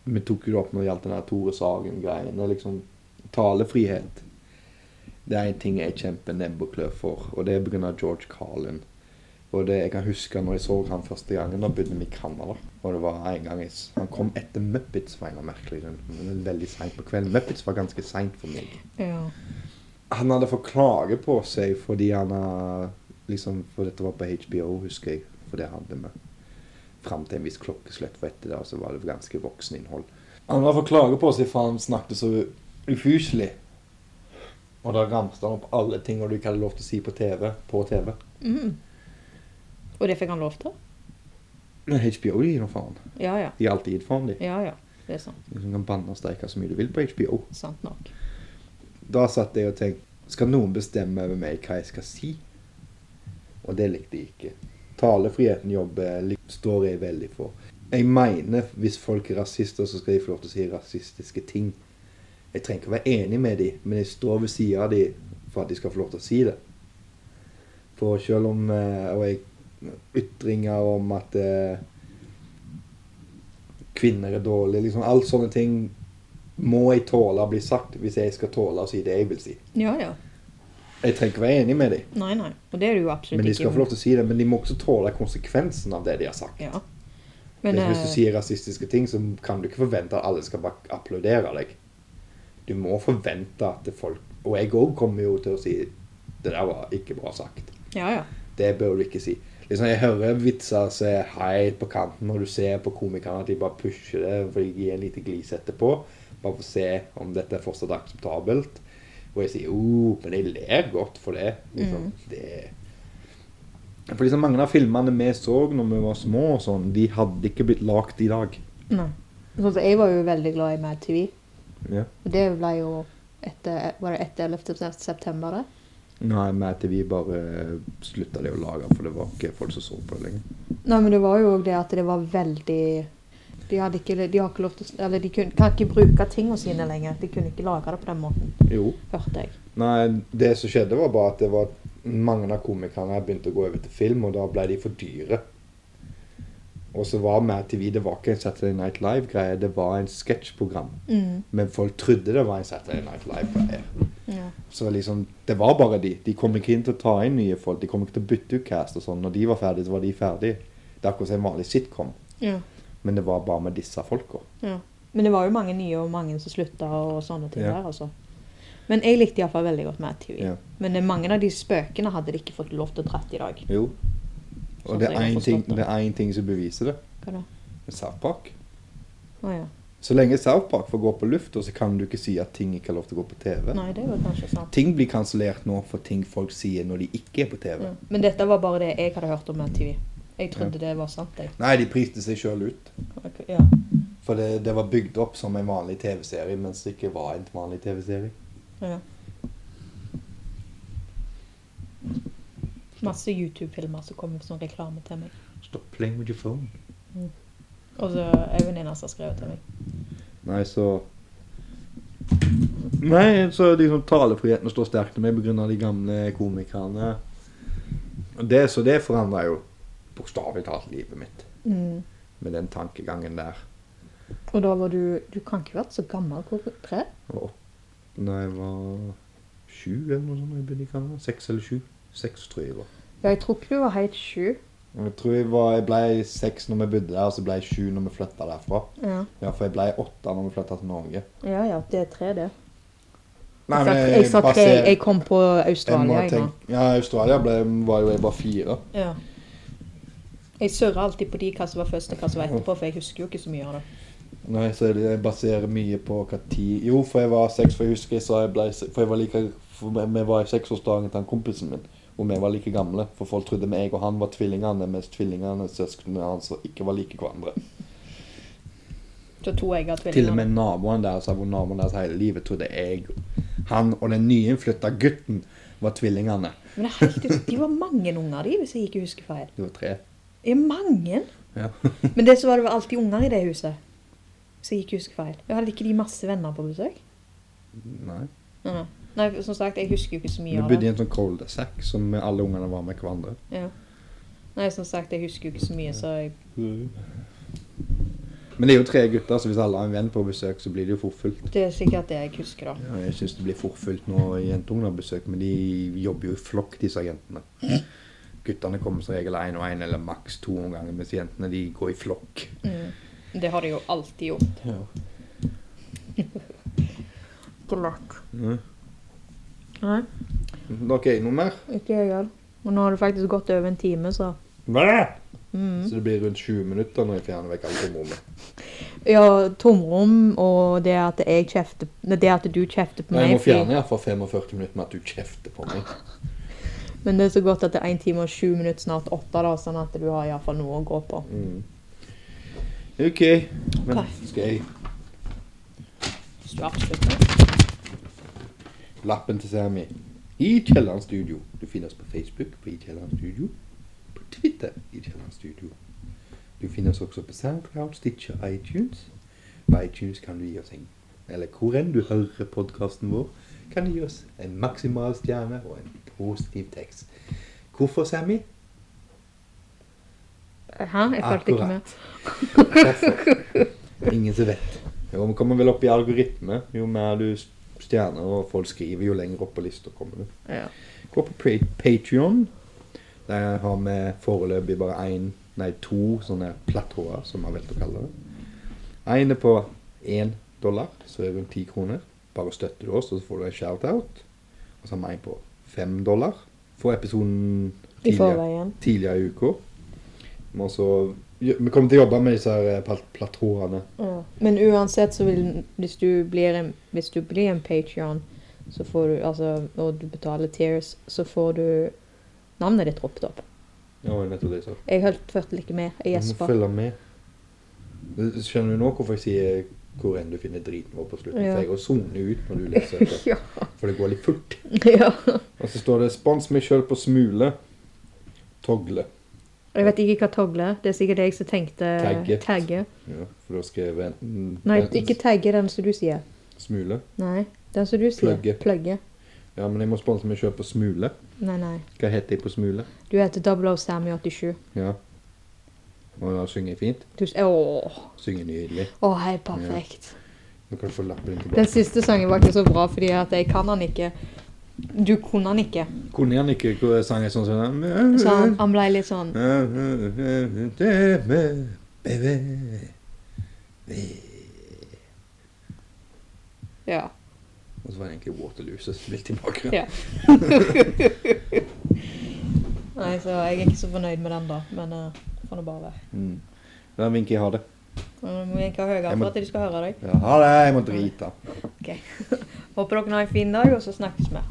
Speaker 2: vi tok jo det opp når det gjaldt den der Tore Sagen-greiene. liksom Talefrihet. Det er en ting jeg kjemper nebb og klør for, og det er pga. George Carlin. Og det Jeg kan huske når jeg så han første gangen, da bodde vi i Canada. Og det var en gang jeg, s- Han kom etter Muppets, var en eller annen merkelig grunn. Men Veldig seint på kvelden. Muppets var ganske seint for meg.
Speaker 1: Ja.
Speaker 2: Han hadde fått klage på seg fordi han har liksom, For dette var på HBO, husker jeg. For det hadde vi. Fram til en viss klokkeslett, for etter det så var det ganske voksen innhold. Han hadde fått klage på seg, for han snakket så ufyselig. Og da ramste han opp alle ting du ikke hadde lov til å si på TV. På TV.
Speaker 1: Mm. Og det fikk han lov til?
Speaker 2: Men HBO gir noe faen.
Speaker 1: Ja ja.
Speaker 2: De har alltid gitt faen, de. Liksom,
Speaker 1: Ja ja. Det er sant.
Speaker 2: Du kan banne og streike så mye du vil på HBO.
Speaker 1: Sant nok.
Speaker 2: Da satt jeg og tenkte Skal noen bestemme over meg hva jeg skal si? Og det likte jeg ikke. Talefriheten jobber lik- står jeg veldig for. Jeg mener hvis folk er rasister, så skal de få lov til å si rasistiske ting. Jeg trenger ikke å være enig med dem, men jeg står ved siden av dem for at de skal få lov til å si det. For selv om eh, og jeg, ytringer om at eh, kvinner er dårlige, liksom alt sånne ting må jeg tåle å bli sagt hvis jeg skal tåle å si det jeg vil si.
Speaker 1: Ja ja.
Speaker 2: Jeg trenger ikke være enig med dem,
Speaker 1: Nei nei. Og det er du jo absolutt
Speaker 2: men de
Speaker 1: ikke.
Speaker 2: skal få lov til å si det. Men de må også tåle konsekvensen av det de har sagt.
Speaker 1: Ja. Men
Speaker 2: Hvis- Hvis du
Speaker 1: eh,
Speaker 2: sier rasistiske ting, så kan du ikke forvente at alle skal bare applaudere deg. Du må forvente at det folk Og jeg òg kommer jo til å si det der var ikke bra sagt.
Speaker 1: Ja, ja.
Speaker 2: Det bør du ikke si. Liksom, jeg hører vitser som er helt på kanten når du ser på komikerne at de bare pusher det for de gir en liten glis etterpå. Bare for å se om dette er fortsatt akseptabelt. Og jeg sier oh, men jeg ler godt for det. Liksom, det for liksom mange av filmene vi så når vi var små, og sånn, de hadde ikke blitt lagd i dag.
Speaker 1: Nei. Sånn som jeg var jo veldig glad i Mad TV.
Speaker 2: Ja.
Speaker 1: Og det ble jo etter, var det etter 11. september, det?
Speaker 2: Nei, men at vi bare slutta det å lage, for det var ikke folk som så på det lenger.
Speaker 1: Nei, men det var jo også det at det var veldig De, hadde ikke, de har ikke lov til å Eller de kun, kan ikke bruke tingene sine lenger. De kunne ikke lage det på den måten,
Speaker 2: Jo.
Speaker 1: hørte jeg.
Speaker 2: Nei, det som skjedde var bare at det var mange av komikerne begynte å gå over til film, og da ble de for dyre. Og så var Mad TV det var ikke en Saturday Night Live-greie, det var en sketsjprogram.
Speaker 1: Mm.
Speaker 2: Men folk trodde det var en Saturday Night Live-greie.
Speaker 1: Ja.
Speaker 2: Så liksom, det var bare de. De kom ikke inn til å ta inn nye folk. De kom ikke til å bytte ut cast og sånn. Når de var ferdige, så var de ferdige. Det er akkurat som en vanlig sitcom,
Speaker 1: Ja,
Speaker 2: men det var bare med disse folka.
Speaker 1: ja. Men det var jo mange nye, og mange som slutta, og sånne ting
Speaker 2: Ja.
Speaker 1: der, altså. Men jeg likte iallfall veldig godt Mad TV.
Speaker 2: Ja.
Speaker 1: Men eh, mange av de spøkene hadde de ikke fått lov til å dratt i dag.
Speaker 2: Jo. Og
Speaker 1: Sånn
Speaker 2: det
Speaker 1: som jeg
Speaker 2: er
Speaker 1: har
Speaker 2: én ting,
Speaker 1: forstått det.
Speaker 2: det er en ting som beviser det.
Speaker 1: Hva da?
Speaker 2: South Park.
Speaker 1: Å ja.
Speaker 2: Så lenge South Park får gå på lufta, så kan du ikke si at ting ikke er lov til å gå på TV.
Speaker 1: Nei, det var kanskje sant.
Speaker 2: Ting blir kansellert nå for ting folk sier når de ikke er på TV.
Speaker 1: Ja. Men dette var bare det jeg hadde hørt om Mad TV. Jeg trodde det var sant, jeg.
Speaker 2: Nei, de priste seg sjøl ut.
Speaker 1: Ok, Ja.
Speaker 2: For det, det var bygd opp som en vanlig TV-serie, mens det ikke var en vanlig TV-serie.
Speaker 1: Ja. Masse YouTube-filmer som kommer som reklame til meg.
Speaker 2: Stop playing with your phone.
Speaker 1: Og så er det en venninne som har skrevet til meg.
Speaker 2: Nei, så Nei, så liksom talefriheten står sterkt med pga. de gamle komikerne. Og Det, så det forandra jo bokstavelig talt livet mitt med den tankegangen der.
Speaker 1: Mm. Og da var du Du kan ikke ha vært så gammel? Hvor tre?
Speaker 2: Og da jeg var sju eller noe sånt, jeg begynte i Canada. seks eller sju. Seks, tror jeg det var.
Speaker 1: Ja, jeg tror ikke du var helt sju.
Speaker 2: Og Jeg tror jeg, var, jeg ble seks når vi bodde der, og så ble jeg sju når vi flytta derfra.
Speaker 1: Ja.
Speaker 2: Ja, for jeg ble åtte når vi flytta til Norge.
Speaker 1: ja ja, det er tre, det.
Speaker 2: Nei,
Speaker 1: jeg, sa- jeg sa tre, jeg, jeg kom på Australia, jeg nå.
Speaker 2: tenke, ja, Australia ble, var jo jeg bare fire.
Speaker 1: Ja. Jeg surrer alltid på de hva som var først og hva som var etterpå, for jeg husker jo ikke så mye av det.
Speaker 2: Nei, så jeg jeg baserer mye på hva tid Jo, for jeg var seks, for jeg husker jeg sa jeg ble se- For jeg var like for vi- Vi var i seksårsdagen til han kompisen min, og vi var like gamle. For folk trodde meg og han var tvillingene, mens tvillingene søsknene hans ikke var like hverandre.
Speaker 1: Så to jeg har
Speaker 2: Til og
Speaker 1: tvillinger.
Speaker 2: med naboen deres har vært naboen deres hele livet, trodde jeg han og den nyinnflytta gutten var tvillingene.
Speaker 1: Men det er helt, ut- de var mange unger, de, hvis jeg ikke husker feil.
Speaker 2: Det var tre.
Speaker 1: Det er mange.
Speaker 2: Ja.
Speaker 1: Men det så var det vel alltid unger i det huset. Så jeg ikke husker feil. Jeg hadde ikke de masse venner på besøk?
Speaker 2: Nei.
Speaker 1: Nei, nei. Nei, for som sagt, jeg husker jo ikke så
Speaker 2: Vi
Speaker 1: mye av
Speaker 2: bodde i
Speaker 1: det.
Speaker 2: en sånn cul-de-sac som alle ungene var med hverandre.
Speaker 1: Ja. Nei, som sagt, jeg husker jo ikke så mye, så jeg
Speaker 2: Men det er jo tre gutter, så hvis alle har en venn på besøk, så blir det jo fort fullt.
Speaker 1: Det er sikkert det jeg husker, da.
Speaker 2: Ja, jeg syns det blir for fullt når jentungene har besøk, men de jobber jo i flokk, disse jentene. Guttene kommer som regel én og én, eller maks to om gangen, mens jentene de går i flokk.
Speaker 1: Mm. Det har de jo alltid gjort.
Speaker 2: Ja.
Speaker 1: Glatt.
Speaker 2: Mm.
Speaker 1: Nei,
Speaker 2: Dere er noe mer?
Speaker 1: ikke jeg heller. Og nå har det faktisk gått over en time, så mm.
Speaker 2: Så det blir rundt 20 minutter når jeg fjerner vekk alt rommet.
Speaker 1: Ja, tomrom og det at jeg kjefter Nei, det at du kjefter på
Speaker 2: Nei, jeg
Speaker 1: meg.
Speaker 2: må fjerne iallfall 45 minutter med at du kjefter på meg.
Speaker 1: fordi- Men det er så godt at det er én time og sju minutter, snart åtte, da, sånn at du har iallfall noe å gå på.
Speaker 2: Mm. OK. Men
Speaker 1: Ok.
Speaker 2: skal jeg
Speaker 1: Hvis du absolutt vil.
Speaker 2: Lappen til Sammy. I Kielland Studio. Du finner oss på Facebook på I Kielland Studio. På Twitter I Kielland Studio. Du finner oss også på SoundCloud, Stitcher, iTunes. På iTunes kan du gi oss en Eller hvor enn du hører podkasten vår, kan du gi oss en maksimal stjerne og en positiv tekst. Hvorfor, Sammy?
Speaker 1: Hæ? Jeg følte ikke med.
Speaker 2: Hvorfor? Ingen som vet. Jo, vi kommer vel opp i algoritme. Jo mer du stjerner og folk skriver, jo lenger opp på lista kommer du.
Speaker 1: Ja.
Speaker 2: Gå på Patreon. Der har vi foreløpig bare én Nei, to sånne platåer, som man vet å kalle det. En er på én dollar, så er det rundt ti kroner. Bare støtter du oss, og så får du en shout-out. Og så har vi en på fem dollar for episoden
Speaker 1: I
Speaker 2: tidligere,
Speaker 1: forveien.
Speaker 2: tidligere i uka. Vi har også- vi kommer til å jobbe med disse her plat- platåene.
Speaker 1: Ja. Men uansett så vil Hvis du blir en, hvis du blir en Patreon, så får du Altså, og du betaler tears, så får du navnet ditt ropt opp.
Speaker 2: Ja, nettopp det, så.
Speaker 1: Jeg holdt førte ikke med. Jeg
Speaker 2: Du må
Speaker 1: gjespa.
Speaker 2: følge med. Skjønner du nå hvorfor jeg sier hvor enn du finner driten vår på slutten?
Speaker 1: Ja.
Speaker 2: For jeg går sone ut når du leser det.
Speaker 1: Ja.
Speaker 2: For det går litt fort.
Speaker 1: ja.
Speaker 2: Og så står det 'Spons meg sjøl på smule'. Togle.
Speaker 1: Jeg vet ikke hva togle er. Det er sikkert jeg som tenkte
Speaker 2: Tagget.
Speaker 1: tagge.
Speaker 2: Ja, for da skrev jeg enten
Speaker 1: Nei,
Speaker 2: enten
Speaker 1: ikke tagge den som du sier.
Speaker 2: smule.
Speaker 1: Nei, den som du sier.
Speaker 2: Plugge.
Speaker 1: Plugge.
Speaker 2: Ja, men jeg må sponse meg sjøl på smule.
Speaker 1: Nei, nei.
Speaker 2: Hva heter jeg på smule?
Speaker 1: Du heter Double O Sammy 87.
Speaker 2: Ja. Og da synger jeg fint.
Speaker 1: Du, s- åh,
Speaker 2: Synger nydelig.
Speaker 1: åh, helt perfekt.
Speaker 2: Nå kan du få lappen din
Speaker 1: Den
Speaker 2: tilbake.
Speaker 1: siste sangen var ikke så bra fordi at jeg kan den ikke. Du kunne den ikke.
Speaker 2: Kunne han ikke gå- sang en sånn sånn
Speaker 1: Så han, han ble litt sånn
Speaker 2: Og
Speaker 1: Ja.
Speaker 2: så var det egentlig Waterloo som spilte i bakgrunnen.
Speaker 1: ja. Nei, så jeg er ikke så fornøyd med den, da. Men uh, får nå bare være.
Speaker 2: Mm. Da vinker jeg ha det.
Speaker 1: Men Du må ikke ha høyere
Speaker 2: Jeg må-
Speaker 1: for at de skal høre deg.
Speaker 2: Ja, ha det, jeg må drite.
Speaker 1: Ok. Håper dere har en fin dag, og så snakkes vi.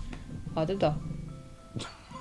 Speaker 1: Ha det, da.